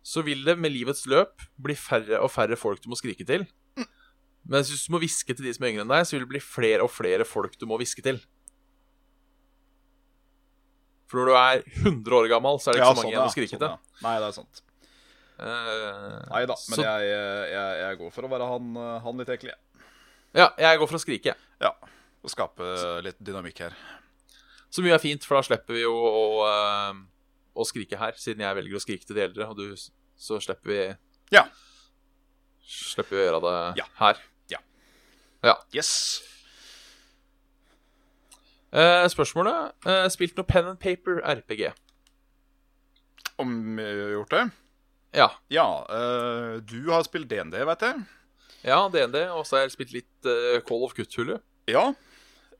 Speaker 2: så vil det med livets løp bli færre og færre folk du må skrike til. Men hvis du må hviske til de som er yngre enn deg, så vil det bli flere og flere folk du må hviske til. For når du er 100 år gammel, så er det ikke
Speaker 3: ja,
Speaker 2: så mange
Speaker 3: sånn,
Speaker 2: igjen
Speaker 3: ja,
Speaker 2: å skrike
Speaker 3: sånn, ja. Nei, det er sant.
Speaker 2: til. Eh,
Speaker 3: Nei da, men
Speaker 2: Så-
Speaker 3: jeg, jeg, jeg går for å være han, eh, han litt ekkel, jeg.
Speaker 2: ja, jeg går for å skrike. jeg.
Speaker 3: Ja. Og skape litt dynamikk her.
Speaker 2: Så mye er fint, for da slipper vi jo å, eh, å skrike her, siden jeg velger å skrike til de eldre, og du Så slipper vi
Speaker 3: Ja.
Speaker 2: Slipper vi å gjøre det
Speaker 3: Ja.
Speaker 2: her.
Speaker 3: Yes.
Speaker 2: Eh, spørsmålet eh, Spilt noe pen and paper RPG?
Speaker 3: Om jeg har gjort det?
Speaker 2: Ja.
Speaker 3: Ja. eh, du har spilt DND, vet jeg.
Speaker 2: ja DND, og så har jeg spilt litt eh, Call of Cthulhu.
Speaker 3: Ja.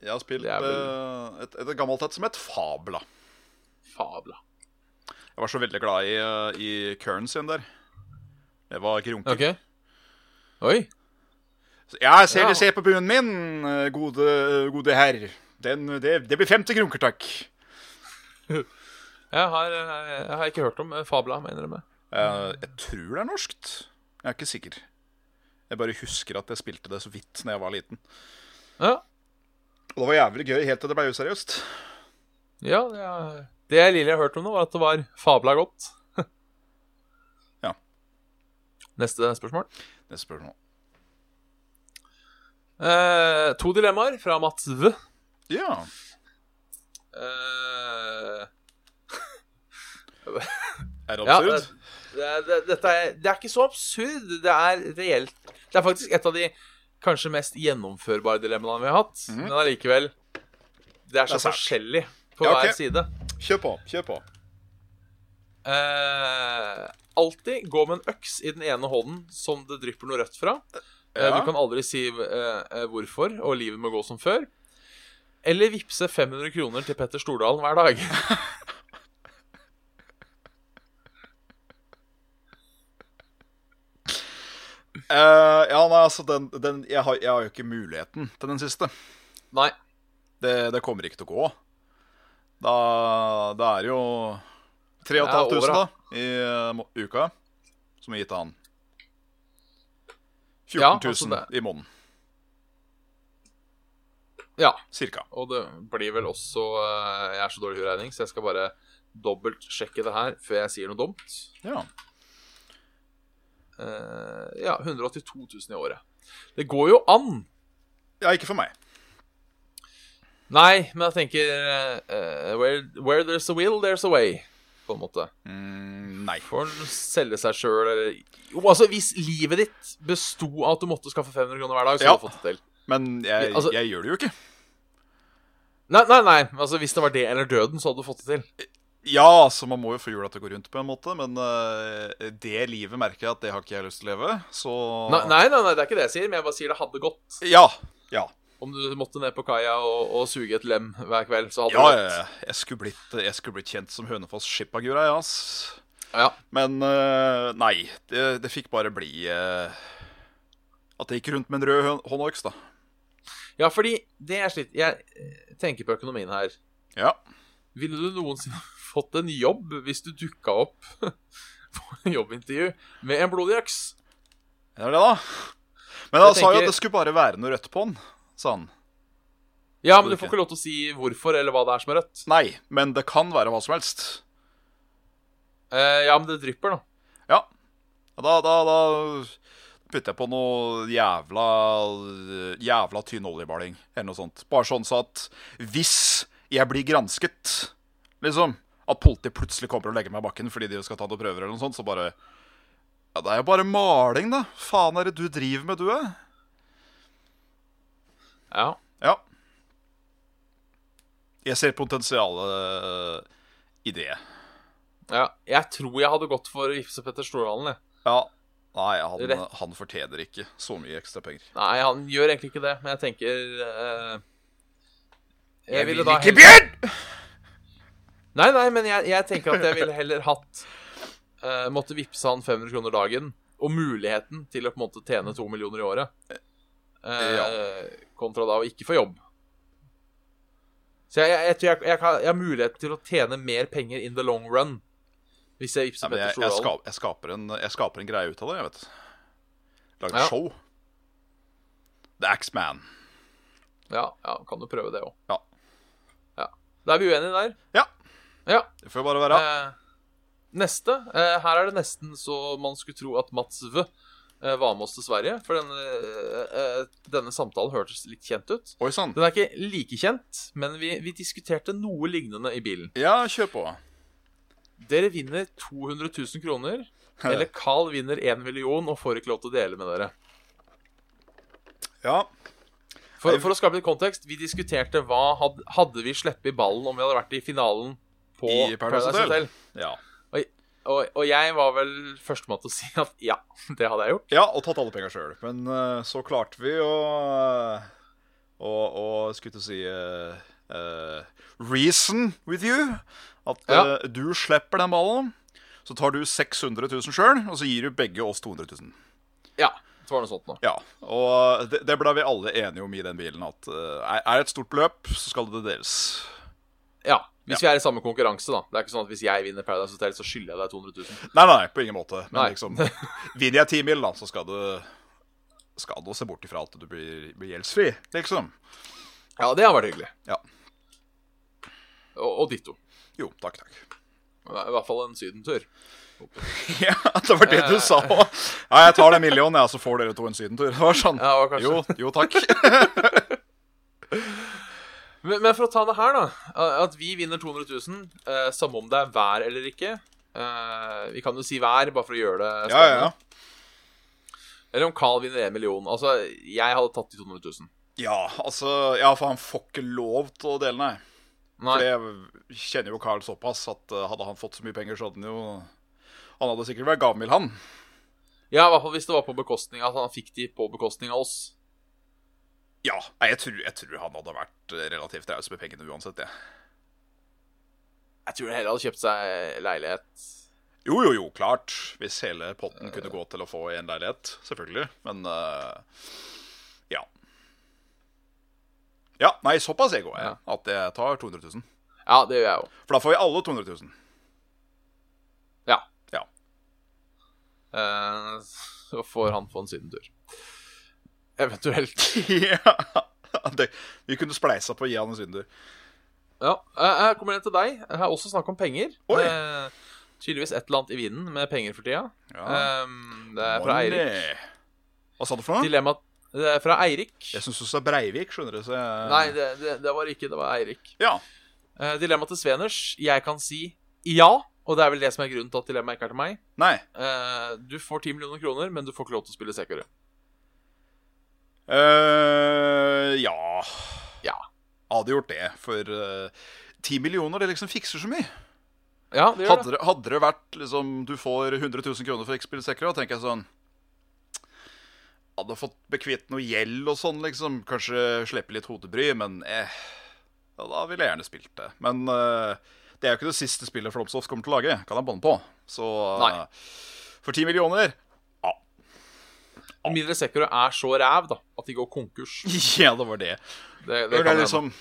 Speaker 3: Jeg har spilt
Speaker 2: Det er
Speaker 3: eh, et, et gammelt et som het Fabla.
Speaker 2: Fabla.
Speaker 3: Jeg var så veldig glad i, eh, i currencyen der. Det var ikke runker.
Speaker 2: Ok. Oi.
Speaker 3: Så Jeg ser
Speaker 2: Ja.
Speaker 3: de ser på bunnen min, eh, gode, gode herr. Den, det, det blir 50 kroner, takk.
Speaker 2: Jeg har, eh, jeg har ikke hørt om eh, Fabla, må jeg innrømme.
Speaker 3: Eh, jeg tror det er norskt. Jeg er ikke sikker. Jeg bare husker at jeg spilte det så vidt Når jeg var liten.
Speaker 2: Ja,
Speaker 3: Og det var jævlig gøy helt til det ble useriøst.
Speaker 2: ja det, er, det lille jeg hørte om nå, var at det var Fabla godt.
Speaker 3: Ja.
Speaker 2: Neste spørsmål.
Speaker 3: Neste spørsmål.
Speaker 2: Eh, to dilemmaer fra Mats V.
Speaker 3: Ja.
Speaker 2: Eh,
Speaker 3: Er det
Speaker 2: Ja,
Speaker 3: absurd?
Speaker 2: det, det, dette er, det er ikke så absurd. Det er reelt. Det er faktisk et av de kanskje mest gjennomførbare dilemmaene vi har hatt.
Speaker 3: Mhm.
Speaker 2: Men allikevel Det er
Speaker 3: Det
Speaker 2: så
Speaker 3: er sært.
Speaker 2: forskjellig på
Speaker 3: Ja, ok.
Speaker 2: hver side.
Speaker 3: Kjør på. Kjør på.
Speaker 2: Eh, alltid gå med en øks i den ene hånden som det drypper noe rødt fra. Eh,
Speaker 3: Ja.
Speaker 2: Du kan aldri si eh, eh, hvorfor, og livet må gå som før. Eller vippse 500 kroner til Petter Stordalen hver dag.
Speaker 3: Eh, ja, nei, altså, den, den jeg, har, jeg har jo ikke muligheten til den siste.
Speaker 2: Nei.
Speaker 3: Det, det kommer ikke til å gå. Da, da er det jo
Speaker 2: Det er
Speaker 3: 3500 da,
Speaker 2: over,
Speaker 3: i eh, må- uka som er gitt til han. 14 000
Speaker 2: Ja, altså
Speaker 3: i måneden,
Speaker 2: Ja.
Speaker 3: cirka.
Speaker 2: Og det blir vel også eh, Jeg er så dårlig i hoderegning, så jeg skal bare dobbeltsjekke det her før jeg sier noe dumt.
Speaker 3: Ja.
Speaker 2: Eh, ja, 182 000 i året. Det går jo an.
Speaker 3: ja, ikke for meg.
Speaker 2: Nei, men jeg tenker eh, where, where there's a will, there's a way. På en måte.
Speaker 3: Mm, nei.
Speaker 2: Får en selge seg sjøl, eller Jo, altså, hvis livet ditt besto av at du måtte skaffe 500 kroner hver dag, så
Speaker 3: Ja.
Speaker 2: hadde du fått det til.
Speaker 3: Men jeg,
Speaker 2: Ja, altså-
Speaker 3: jeg gjør det jo ikke.
Speaker 2: Nei, nei, nei. Altså, hvis det var det eller døden, så hadde du fått det til.
Speaker 3: Ja, så man må jo få jula til å gå rundt på en måte, men eh, det livet merker jeg at det har ikke jeg lyst til å leve, så
Speaker 2: Nei, nei, nei, nei, det er ikke det jeg sier, men jeg bare sier det hadde gått.
Speaker 3: Ja. Ja.
Speaker 2: Om du måtte ned på kaia og, og suge et lem hver kveld, så hadde
Speaker 3: Ja,
Speaker 2: det
Speaker 3: ja, ja. jeg skulle blitt, jeg skulle blitt kjent som Hønefoss Skipagura, ja, ass.
Speaker 2: gått. Ja.
Speaker 3: Men eh, nei, det, det fikk bare bli eh, at jeg gikk rundt med en rød hø- håndøks, da.
Speaker 2: Ja, fordi det er slitt Jeg eh, tenker på økonomien her.
Speaker 3: Ja.
Speaker 2: Ville du noensinne fått en jobb hvis du dukka opp på en jobbintervju med en blodig øks?
Speaker 3: Det er det, da. Men han
Speaker 2: Jeg
Speaker 3: sa jo
Speaker 2: tenker-
Speaker 3: at det skulle bare være noe rødt på den, sa han.
Speaker 2: Ja, men du får ikke lov til å si hvorfor eller hva det er som er rødt.
Speaker 3: Nei, men det kan være hva som helst.
Speaker 2: Eh, ja, men det drypper, da.
Speaker 3: Ja. Da, da, da putter jeg på noe jævla Jævla tynn oljebaling, eller noe sånt. Bare sånn så at hvis jeg blir gransket, liksom At politiet plutselig kommer og legger meg i bakken fordi de skal ta noen prøver, eller noe sånt, så bare Ja, det er jo bare maling, da. Faen er det du driver med, du, eh?
Speaker 2: Ja.
Speaker 3: Ja. Jeg ser potensialet i det.
Speaker 2: ja. Jeg tror jeg hadde gått for å gifte Petter Stordalen, jeg.
Speaker 3: Ja. Nei, han,
Speaker 2: Rett.
Speaker 3: han fortjener ikke så mye ekstra penger.
Speaker 2: Nei, han gjør egentlig ikke det, men jeg tenker eh, jeg, ville da heller-
Speaker 3: Bjørn!
Speaker 2: Nei, nei, men jeg, jeg tenker at jeg ville heller hatt eh, Måtte vippse han 500 kroner dagen Og muligheten til å på en måte tjene 2 millioner i året eh, Kontra da å ikke få jobb Så jeg, jeg, jeg tror jeg, jeg, kan, jeg har mulighet til å tjene mer penger in the long run Hvis jeg
Speaker 3: Ja,
Speaker 2: vippser
Speaker 3: men jeg,
Speaker 2: Petter
Speaker 3: jeg,
Speaker 2: Stordalen
Speaker 3: skap, jeg, skaper en, jeg skaper en greie ut av det, jeg vet Lager
Speaker 2: Ja.
Speaker 3: show. The Axman.
Speaker 2: ja, ja, kan du prøve det også
Speaker 3: Ja.
Speaker 2: Ja. Da er vi uenige der
Speaker 3: Ja.
Speaker 2: Ja
Speaker 3: Det får bare være.
Speaker 2: Eh, neste. Eh, her er det nesten så man skulle tro at Mats V eh, var med oss til Sverige. For denne, eh, eh, denne samtalen hørtes litt kjent ut.
Speaker 3: Oi sånn. sann.
Speaker 2: Den er ikke like kjent, men vi, vi diskuterte noe lignende i bilen.
Speaker 3: Ja, kjør på.
Speaker 2: Dere vinner 200 000 kroner. Eller Carl vinner 1 million og får ikke lov til å dele med dere.
Speaker 3: Ja.
Speaker 2: For, for å skape litt kontekst, vi diskuterte hva hadde, hadde vi sluppet i ballen om vi hadde vært i finalen på
Speaker 3: I Paradise Hotel. ja.
Speaker 2: Og, og jeg var vel førstemann til å si at ja, det hadde jeg gjort.
Speaker 3: Ja, og tatt alle penga sjøl. Men eh, så klarte vi å Og, og skulle til å si eh, eh, Reason with you. At
Speaker 2: Ja.
Speaker 3: eh, du slipper den ballen. Så tar du 600 000 sjøl, og så gir du begge oss 200 000.
Speaker 2: Ja, Det var noe sånt nå.
Speaker 3: Ja, og det, det ble vi alle enige om i den bilen. At eh, er- er det et stort beløp, så skal det deles.
Speaker 2: Ja, Hvis vi er i samme konkurranse, da. Det er ikke sånn at Hvis jeg vinner Paradise Hotel, så skylder jeg deg 200 000.
Speaker 3: Nei, nei, på ingen måte. Men
Speaker 2: Nei.
Speaker 3: liksom, vinner jeg ti mil, da, så skal du skal du se bort ifra at du blir, blir gjeldsfri, liksom.
Speaker 2: Ja, det har vært hyggelig.
Speaker 3: Ja.
Speaker 2: Og, og ditto.
Speaker 3: Jo, takk, takk.
Speaker 2: I hvert fall en sydentur.
Speaker 3: Ja, Det var det du sa òg. Ja, jeg tar den millionen, ja, så får dere to en sydentur. Det var sånn.
Speaker 2: Ja, det var kanskje-
Speaker 3: jo, jo, takk.
Speaker 2: Men, men for å ta det her, da. At vi vinner 200 000, eh, samme om det er vær eller ikke. Eh, vi kan jo si vær, bare for å gjøre det
Speaker 3: Ja, ja, ja.
Speaker 2: Eller om Carl vinner 1 million. Altså, jeg hadde tatt de 200 000.
Speaker 3: Ja, altså, ja, for han får ikke lov til å dele, nei. For
Speaker 2: Nei.
Speaker 3: jeg kjenner jo Carl såpass at eh, hadde han fått så mye penger, så hadde han jo Han hadde sikkert vært gavmild, han.
Speaker 2: Ja, i hvert fall hvis det var på bekostning at han fikk de på bekostning av oss.
Speaker 3: Ja, nei, jeg tror, jeg tror han hadde vært eh, relativt raus med pengene uansett, jeg.
Speaker 2: Jeg tror han heller hadde kjøpt seg leilighet.
Speaker 3: Jo, jo, jo, klart. Hvis hele potten kunne gå til å få en leilighet, selvfølgelig. Men eh, ja. Ja, nei, såpass jeg går, jeg. At jeg tar 200 000.
Speaker 2: Ja, det gjør jeg òg.
Speaker 3: For da får vi alle 200 000.
Speaker 2: Ja.
Speaker 3: Ja.
Speaker 2: Eh, så får han få en sydentur. Eventuelt.
Speaker 3: ja. Det, vi kunne spleisa på å gi han en synder.
Speaker 2: Ja, eh, her kommer det til deg. Her er også snakk om penger.
Speaker 3: Oi.
Speaker 2: Eh, tydeligvis et eller annet i vinden med penger for tida.
Speaker 3: Ja.
Speaker 2: Eh, det er fra Eirik.
Speaker 3: Money. Hva sa du for noe?
Speaker 2: Dilemma det er fra Eirik.
Speaker 3: Jeg syns du sa Breivik, skjønner du. Så jeg...
Speaker 2: Nei, det, det, det var ikke. Det var Eirik.
Speaker 3: Ja.
Speaker 2: Eh, dilemma til Sveners. Jeg kan si ja, og det er vel det som er grunnen til at dilemmaet ikke er til meg.
Speaker 3: Nei.
Speaker 2: Eh, du får 10 millioner kroner, men du får ikke lov til å spille Sekure.
Speaker 3: Eh, ja.
Speaker 2: Ja.
Speaker 3: Hadde gjort det. For eh, ti millioner, det liksom fikser så mye.
Speaker 2: Ja, det gjør det.
Speaker 3: Hadde det, hadde det vært liksom Du får 100 000 kroner for X-Spill Sekra, tenker jeg sånn Hadde fått bekvitt noe gjeld og sånn, liksom. Kanskje slippe litt hodebry, men eh. Ja, da ville jeg gjerne spilt det. Men eh, det er jo ikke det siste spillet Flomsoft kommer til å lage, kan jeg banne på. Så eh,
Speaker 2: Nei.
Speaker 3: for ti millioner
Speaker 2: Med mindre Sekuro er så ræv da, at de går konkurs.
Speaker 3: Ja, det var det.
Speaker 2: Det,
Speaker 3: Det,
Speaker 2: det
Speaker 3: er
Speaker 2: kan hende.
Speaker 3: liksom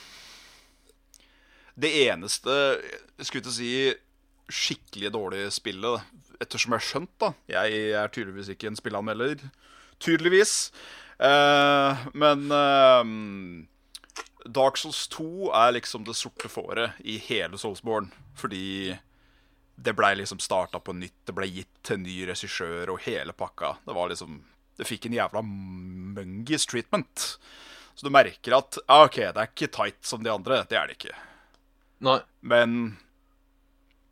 Speaker 3: Det eneste jeg skulle til å si skikkelig dårlige spillet, da. ettersom jeg har skjønt, da Jeg er tydeligvis ikke en spillanmelder. Tydeligvis. Eh, men eh, Dark Souls 2 er liksom det sorte fåret i hele Soulsborne. Fordi det blei liksom starta på nytt, det blei gitt til ny regissør og hele pakka. Det var liksom Det fikk en jævla mungis treatment. Så du merker at ja, OK, det er ikke tight som de andre. Det er det ikke.
Speaker 2: Nei.
Speaker 3: Men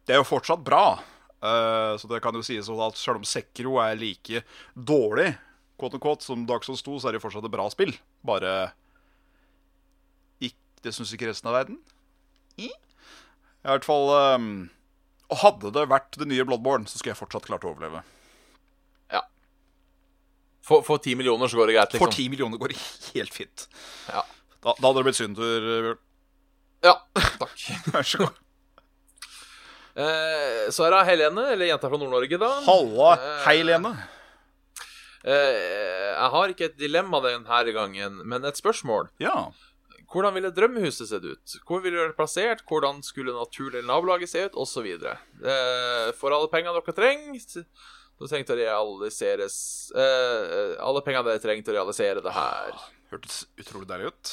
Speaker 3: det er jo fortsatt bra. Eh, så det kan jo sies sånn at selv om Sekro er like dårlig quote unquote, som Dark Souls 2, så er det jo fortsatt et bra spill. Bare ikk, Det syns ikke resten av verden. I I hvert fall eh, Og hadde det vært det nye Bloodborne, så skulle jeg fortsatt klart å overleve.
Speaker 2: For, for 10 millioner så går det greit, liksom.
Speaker 3: For 10 millioner går helt fint.
Speaker 2: Ja.
Speaker 3: Da, da hadde det blitt synder. Bjørn.
Speaker 2: Ja, takk.
Speaker 3: Vær så god.
Speaker 2: Eh, så er det Helene, eller jenta fra Nord-Norge, da.
Speaker 3: Halla, hei, Lene.
Speaker 2: Eh, jeg har ikke et dilemma denne gangen, men et spørsmål.
Speaker 3: Ja.
Speaker 2: Hvordan ville drømmehuset sett ut? Hvor ville det vært plassert? Hvordan skulle naturlig nabolaget se ut? Og så videre. Eh, for alle pengene dere trenger så tenkte å realiseres eh, Alle pengene dere trenger til å realisere det her.
Speaker 3: Hørtes utrolig deilig ut.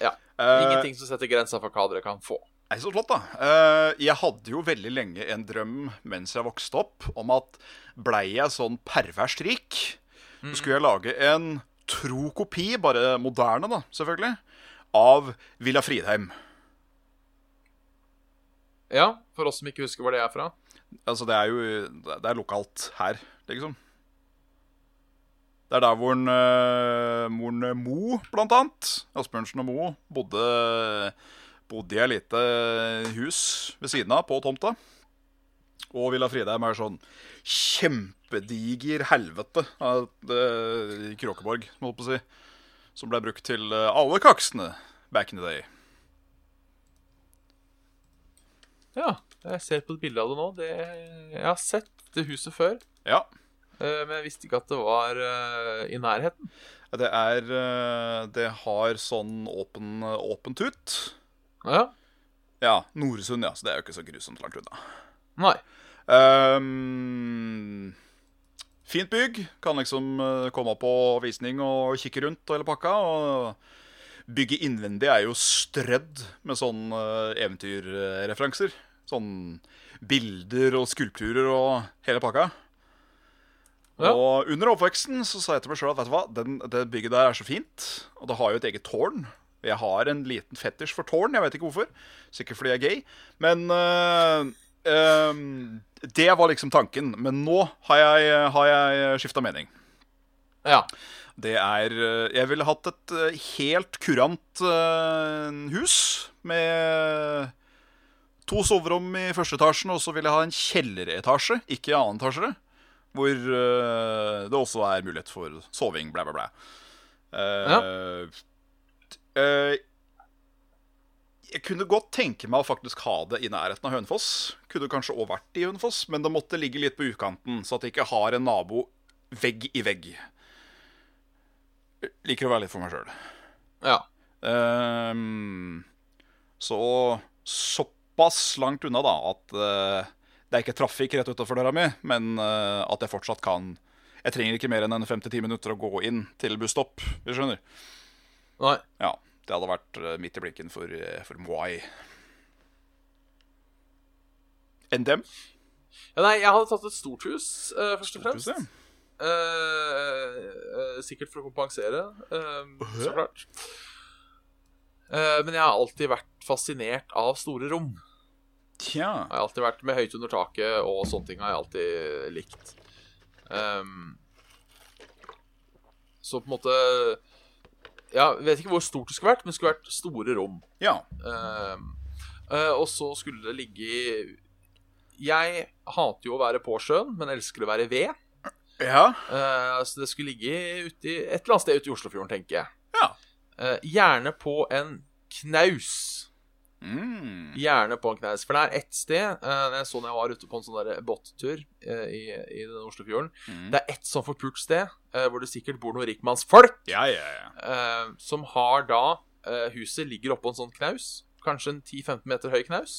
Speaker 2: Ja.
Speaker 3: Eh,
Speaker 2: Ingenting som setter grensa for hva dere kan få.
Speaker 3: Nei, så flott, da. Eh, jeg hadde jo veldig lenge en drøm mens jeg vokste opp, om at blei jeg sånn perverst rik,
Speaker 2: Mm.
Speaker 3: så skulle jeg lage en tro kopi, bare moderne, da, selvfølgelig, av Villa Fridheim.
Speaker 2: Ja, for oss som ikke husker hvor det er fra.
Speaker 3: Altså, det er jo Det er lokalt her, liksom. Det er der hvor en, eh, moren Mo, blant annet, Asbjørnsen og Mo, bodde, bodde i et lite eh, hus ved siden av, på tomta. Og Villa Fridheim er sånn kjempediger helvete av et, eh, Kråkeborg, må jeg på å si. Som ble brukt til eh, alle kaksene back in the day.
Speaker 2: Ja, jeg ser på et bilde av det nå. Det, jeg har sett det huset før.
Speaker 3: Ja.
Speaker 2: Eh, Men jeg visste ikke at det var eh, i nærheten.
Speaker 3: Det er eh, Det har sånn åpen, åpen tut.
Speaker 2: Ja.
Speaker 3: Ja, Noresund, ja. Så det er jo ikke så grusomt langt unna.
Speaker 2: Nei.
Speaker 3: Ehm, fint bygg. Kan liksom eh, komme på visning og kikke rundt og hele pakka. Og bygget innvendig er jo strødd med sånn eh, eventyrreferanser. Sånn bilder og skulpturer og hele pakka.
Speaker 2: Ja.
Speaker 3: Og under oppveksten så sa jeg til meg sjøl at vet du hva, Den, det bygget der er så fint. Og det har jo et eget tårn. Jeg har en liten fetisj for tårn, jeg vet ikke hvorfor. Sikkert fordi jeg er gay. Men eh, ehm, det var liksom tanken. Men nå har jeg, har jeg skifta mening.
Speaker 2: Ja.
Speaker 3: Det er eh, Jeg ville hatt et eh, helt kurant eh, hus med to soverom i første etasjen, og så vil jeg ha en kjelleretasje, ikke annen etasje, hvor eh, det også er mulighet for soving, blæ, blæ, blæ. Eh, eh, jeg kunne godt tenke meg å faktisk ha det i nærheten av Hønefoss. Kunne kanskje òg vært i Hønefoss, men det måtte ligge litt på utkanten, så at jeg ikke har en nabo vegg i vegg. Liker å være litt for meg sjøl.
Speaker 2: Ja.
Speaker 3: Ehm, så såpass langt unna, da, at eh, det er ikke trafikk rett utafor døra mi, men eh, at jeg fortsatt kan Jeg trenger ikke mer enn en 5-10 minutter å gå inn til busstopp, hvis du skjønner.
Speaker 2: Nei.
Speaker 3: Ja, det hadde vært eh, midt i blinken for, eh, for Moai. Enn dem?
Speaker 2: Ja, nei, jeg hadde tatt et stort hus, eh, først og fremst.
Speaker 3: Storthuset.
Speaker 2: Eh, eh, sikkert for å kompensere, eh, så klart. Eh, men jeg har alltid vært fascinert av store rom.
Speaker 3: Tja.
Speaker 2: Jeg har alltid vært med høyt under taket, og sånne ting har jeg alltid likt. Ehm, så på en måte Ja, jeg vet ikke hvor stort det skulle vært, men det skulle vært store rom.
Speaker 3: Ja.
Speaker 2: Ehm, eh, og så skulle det ligge i Jeg hater jo å være på sjøen, men elsker å være ved.
Speaker 3: Ja.
Speaker 2: Eh, så det skulle ligge ute i, et eller annet sted ute i Oslofjorden, tenker jeg.
Speaker 3: Ja.
Speaker 2: Eh, gjerne på en knaus.
Speaker 3: Mm.
Speaker 2: Gjerne på en knaus. For det er ett sted eh, Jeg så når jeg var ute på en sånn der båttur eh, i, i den Oslofjorden.
Speaker 3: Mm.
Speaker 2: Det er ett sånn forpult sted eh, hvor det sikkert bor noen rikmannsfolk
Speaker 3: Ja, ja, ja.
Speaker 2: eh, som har da eh, Huset ligger oppå en sånn knaus. Kanskje en 10-15 meter høy knaus.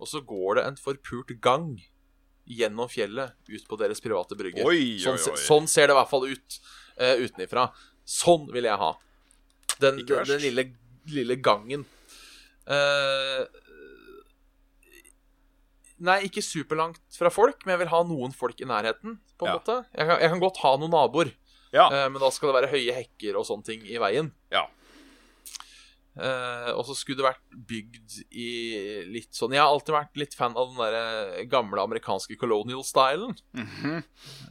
Speaker 2: Og så går det en forpult gang gjennom fjellet ut på deres private brygge.
Speaker 3: Oi, oi,
Speaker 2: Sånn, se-
Speaker 3: oi.
Speaker 2: sånn ser det i hvert fall ut eh, utenifra. Sånn vil jeg ha. Den,
Speaker 3: Ikke
Speaker 2: den,
Speaker 3: verst.
Speaker 2: den lille, lille gangen. Eh, nei, ikke superlangt fra folk, men jeg vil ha noen folk i nærheten. På en
Speaker 3: Ja.
Speaker 2: måte jeg kan, jeg kan godt ha noen naboer,
Speaker 3: Ja.
Speaker 2: eh, men da skal det være høye hekker og sånne ting i veien.
Speaker 3: Ja.
Speaker 2: Eh, og så skulle det vært bygd i litt sånn Jeg har alltid vært litt fan av den der eh, gamle amerikanske colonial-stylen.
Speaker 3: Mhm.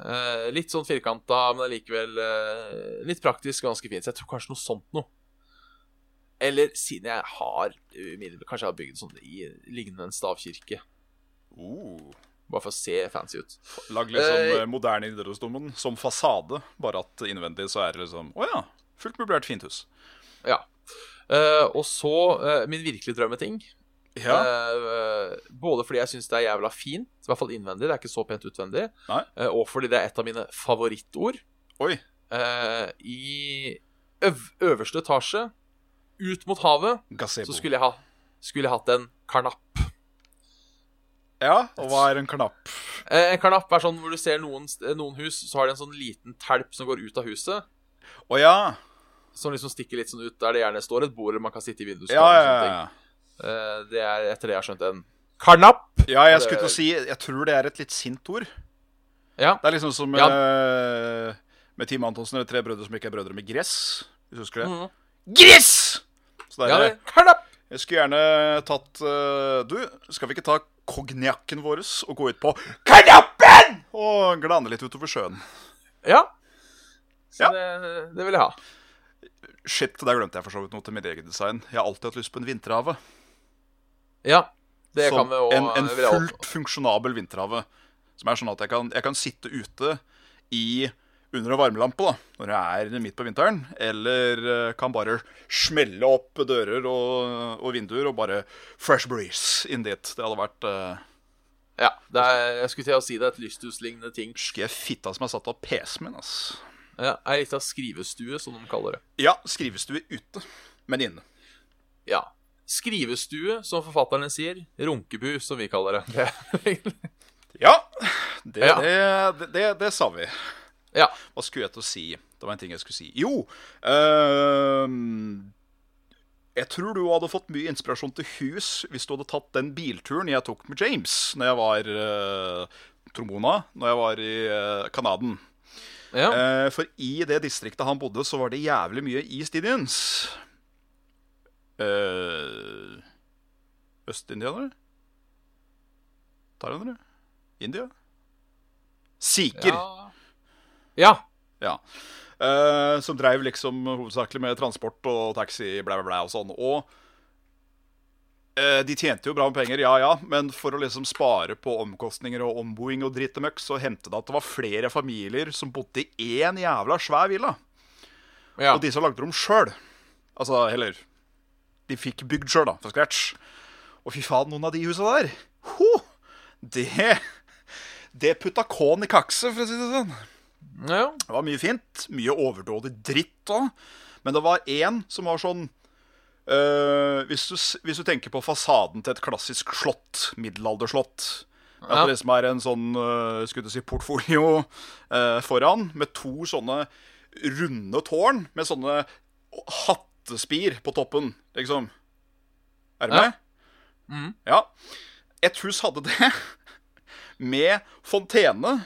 Speaker 2: Eh, litt sånn firkanta, men allikevel eh, litt praktisk, ganske fint. Så jeg tror kanskje noe sånt noe. Eller siden jeg har eh, mine- Kanskje jeg har bygd sånn i lignende en stavkirke.
Speaker 3: Oh.
Speaker 2: Bare for å se fancy ut.
Speaker 3: Lag liksom
Speaker 2: Eh,
Speaker 3: eh, moderne Nidarosdomen som fasade, bare at innvendig så er det liksom Å ja, fullt møblert fint hus.
Speaker 2: Ja. Eh, og så eh, min virkelige drømmeting.
Speaker 3: Ja.
Speaker 2: Eh, både fordi jeg syns det er jævla fint, i hvert fall innvendig, det er ikke så pent utvendig,
Speaker 3: Nei.
Speaker 2: eh, og fordi det er et av mine favorittord.
Speaker 3: Oi.
Speaker 2: Eh, I øv øverste etasje, ut mot havet,
Speaker 3: Gazebo.
Speaker 2: så skulle jeg, ha, skulle jeg hatt en karnapp.
Speaker 3: Ja, og hva er en knapp?
Speaker 2: Eh, en karnapp er sånn hvor du ser noen, st- noen hus, så har de en sånn liten telp som går ut av huset.
Speaker 3: Å ja.
Speaker 2: Som liksom stikker litt sånn ut, der det gjerne står et bord eller man kan sitte i vinduet.
Speaker 3: Ja, ja, ja.
Speaker 2: Eh, det er etter det jeg har skjønt en karnapp.
Speaker 3: ja, jeg skulle til å si Jeg tror det er et litt sint ord.
Speaker 2: Ja.
Speaker 3: Det er liksom som
Speaker 2: Ja.
Speaker 3: eh, med Team Antonsen eller Tre brødre som ikke er brødre med gress. Hvis du husker det.
Speaker 2: Mhm.
Speaker 3: Mm. Gress! Så det
Speaker 2: ja
Speaker 3: er
Speaker 2: det, karnapp!
Speaker 3: Jeg skulle gjerne tatt eh, Du, skal vi ikke ta kognjakken vår og gå ut på Kanappen! Og glane litt utover sjøen.
Speaker 2: Ja. Så
Speaker 3: Ja.
Speaker 2: Det, det vil jeg ha.
Speaker 3: Shit, der glemte jeg for så vidt noe til mitt eget design. Jeg har alltid hatt lyst på en vinterhave.
Speaker 2: Ja. Det
Speaker 3: Som
Speaker 2: kan vi eh, òg
Speaker 3: en, en fullt funksjonabel vinterhave. Som er sånn at jeg kan, jeg kan sitte ute i under en varmelampe da, når jeg er midt på vinteren. Eller eh, kan bare smelle opp dører og, og vinduer og bare fresh breeze inn dit. Det hadde vært eh,
Speaker 2: Ja, det er, jeg skulle til å si det er et lysthuslignende ting.
Speaker 3: Husker jeg fitta som er satt av PC-en min, ass.
Speaker 2: Ja, Ei lita skrivestue, som de kaller det.
Speaker 3: Ja, skrivestue ute, men inne.
Speaker 2: Ja. Skrivestue, som forfatterne sier. Runkebu, som vi kaller det.
Speaker 3: Ja, det,
Speaker 2: Ja.
Speaker 3: Det, det, det, det sa vi.
Speaker 2: ja.
Speaker 3: Hva skulle jeg til å si? Det var en ting jeg skulle si. Jo ehm, Jeg tror du hadde fått mye inspirasjon til hus hvis du hadde tatt den bilturen jeg tok med James når jeg var eh, trombona, når jeg var i uh, Kanaden.
Speaker 2: ja.
Speaker 3: Eh, for i det distriktet han bodde, så var det jævlig mye East Indians. Uh, Østindianere? Thailandere? India? Sikher.
Speaker 2: Ja. ja.
Speaker 3: Ja. Eh, som dreiv liksom hovedsakelig med transport og taxi, bla, bla, bla og sånn. Og eh, de tjente jo bra med penger, ja ja, men for å liksom spare på omkostninger og omboing og dritt og møkk, så hendte det at det var flere familier som bodde i én jævla svær villa.
Speaker 2: ja.
Speaker 3: Og disse lagde de sjøl. Altså, eller De fikk bygd sjøl, da, fra scratch. Og fy faen, noen av de husa der ho, Det Det putta K-en i kakse, for å si det sånn.
Speaker 2: ja.
Speaker 3: Det var mye fint. Mye overdådig dritt òg. Men det var én som var sånn øh, hvis, du, s- hvis du tenker på fasaden til et klassisk slott, middelalderslott
Speaker 2: Ja.
Speaker 3: At det liksom er en sånn øh, skulle du si, portfolio øh, foran, med to sånne runde tårn med sånne hattespir på toppen, liksom. Er du
Speaker 2: Ja. Mm.
Speaker 3: med? Ja. Et hus hadde det, med fontene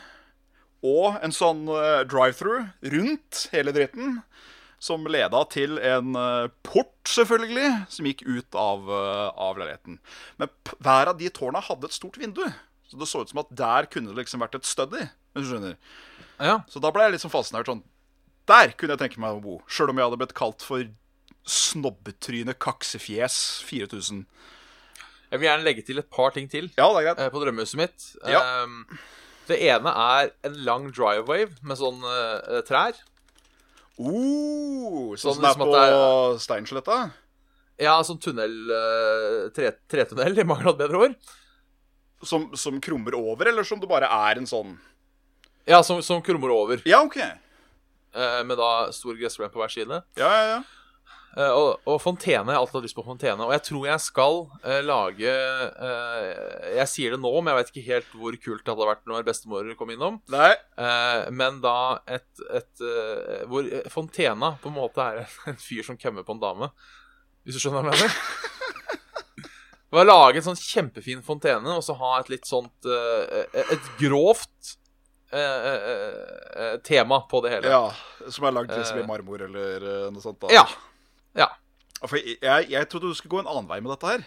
Speaker 3: og en sånn eh, drive-through rundt hele dritten. Som leda til en eh, port, selvfølgelig, som gikk ut av, eh, av leiligheten. Men p hver av de tårna hadde et stort vindu, så det så ut som at der kunne det liksom vært et study. Hvis du skjønner.
Speaker 2: ja.
Speaker 3: Så da ble jeg liksom fascinert sånn Der kunne jeg tenke meg å bo. Sjøl om jeg hadde blitt kalt for snobbetryne, kaksefjes 4000.
Speaker 2: Jeg vil gjerne legge til et par ting til
Speaker 3: Ja, det er greit.
Speaker 2: eh, på drømmehuset mitt.
Speaker 3: Ja.
Speaker 2: Ehm, det ene er en lang driveway med sånn eh, trær.
Speaker 3: Oh, sånn
Speaker 2: Sånn
Speaker 3: som det er
Speaker 2: liksom
Speaker 3: på
Speaker 2: at det
Speaker 3: Steinsletta?
Speaker 2: Ja, sånn tunnel eh, tre, Tretunnel, i mangel av et bedre ord.
Speaker 3: Som, som krummer over, eller som det bare er en sånn
Speaker 2: Ja, som, som krummer over,
Speaker 3: Ja, OK.
Speaker 2: eh, med da stor gressplen på hver side.
Speaker 3: Ja, ja, ja.
Speaker 2: Eh, og, og fontene. Jeg har alltid hatt lyst på fontene. Og jeg tror jeg skal eh, lage eh, Jeg sier det nå, men jeg vet ikke helt hvor kult det hadde vært når bestemor kom innom.
Speaker 3: Nei.
Speaker 2: Eh, men da et, et eh, Hvor eh, fontena på en måte er en, en fyr som kømmer på en dame. Hvis du skjønner hva jeg mener? Bare lage en sånn kjempefin fontene, og så ha et litt sånt eh, Et et grovt eh, eh, eh, tema på det hele.
Speaker 3: Ja, Som er lagd liksom i
Speaker 2: Eh.
Speaker 3: marmor eller eh, noe sånt. da
Speaker 2: Ja.
Speaker 3: For jeg, jeg, jeg trodde du skulle gå en annen vei med dette her.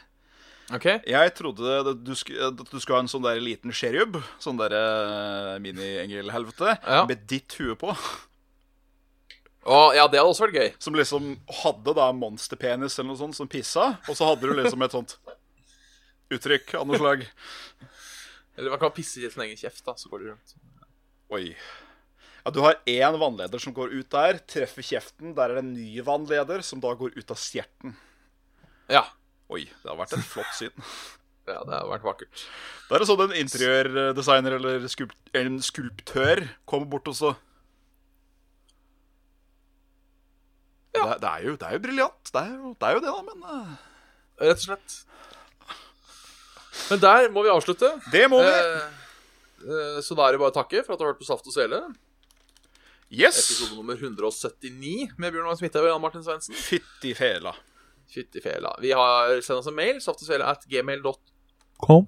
Speaker 2: OK?
Speaker 3: Jeg trodde at du, sk at du skulle ha en sånn der liten sherub. Sånn der eh, mini-engel-helvete.
Speaker 2: Ja.
Speaker 3: Med ditt hue på.
Speaker 2: Og, ja, det hadde også vært gøy.
Speaker 3: Som liksom hadde da monsterpenis eller noe sånt som pissa. Og så hadde du liksom et sånt uttrykk av noe slag.
Speaker 2: Eller man kan pisse i sin egen kjeft, da, så går det rundt.
Speaker 3: Oi. Ja, du har én vannleder som går ut der, treffer kjeften. Der er det en ny vannleder som da går ut av stjerten.
Speaker 2: Ja.
Speaker 3: Oi, det har vært et flott syn.
Speaker 2: ja det har vært vakkert.
Speaker 3: Da er det sånn en interiørdesigner eller skulp en skulptør kommer bort og så ja. det, er- det er jo, det er jo briljant. Det er jo, det er jo det, da, men eh,
Speaker 2: Rett og slett. Men der må vi avslutte.
Speaker 3: Det må vi.
Speaker 2: Eh, eh, så da er det bare å takke for at du har hørt på Saft og Sele.
Speaker 3: Yes!
Speaker 2: Episode nummer 179 med Bjørn Magnus Midthaug og Jan Martin Svendsen.
Speaker 3: Fytti fela.
Speaker 2: Fytti fela. Vi har sendt oss en mail, saftogsele.gmail.com.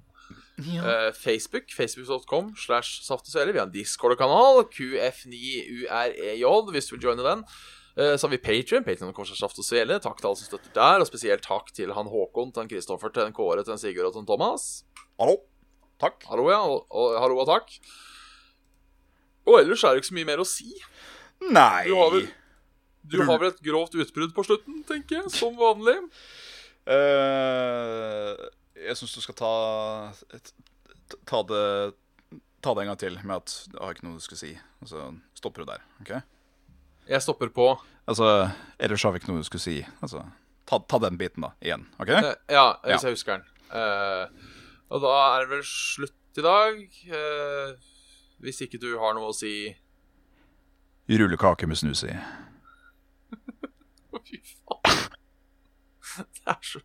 Speaker 2: Eh, Facebook, facebook.com slash saftogsele. Vi har en Discord-kanal, qf9urej, E hvis du vil joine den. Eh, Så har vi Patrion. Patrion kommer Saft og Svele. Takk til alle som støtter der. Og spesielt takk til han Håkon, til han Kristoffer, til han Kåre, til han Sigurd og til han Thomas.
Speaker 3: Hallo. Takk.
Speaker 2: Hallo, ja. Og, og, hallo og takk. Og ellers er det ikke så mye mer å si.
Speaker 3: Nei
Speaker 2: Du har vel, du
Speaker 3: Rull.
Speaker 2: har vel et grovt utbrudd på slutten, tenker jeg. Som vanlig.
Speaker 3: Eh, Jeg syns du skal ta t- ta det, ta det en gang til med at jeg har ikke noe du skal si. Og så stopper du der. ok?
Speaker 2: Jeg stopper på
Speaker 3: Altså, Ellers har vi ikke noe du skulle si. Altså, ta, ta den biten, da. Igjen. OK?
Speaker 2: Eh, Ja, hvis
Speaker 3: Ja.
Speaker 2: jeg husker den. Eh, og da er det vel slutt til i dag. Eh, hvis ikke du har noe å si
Speaker 3: Rullekake med snus i.
Speaker 2: Fy faen. Det er så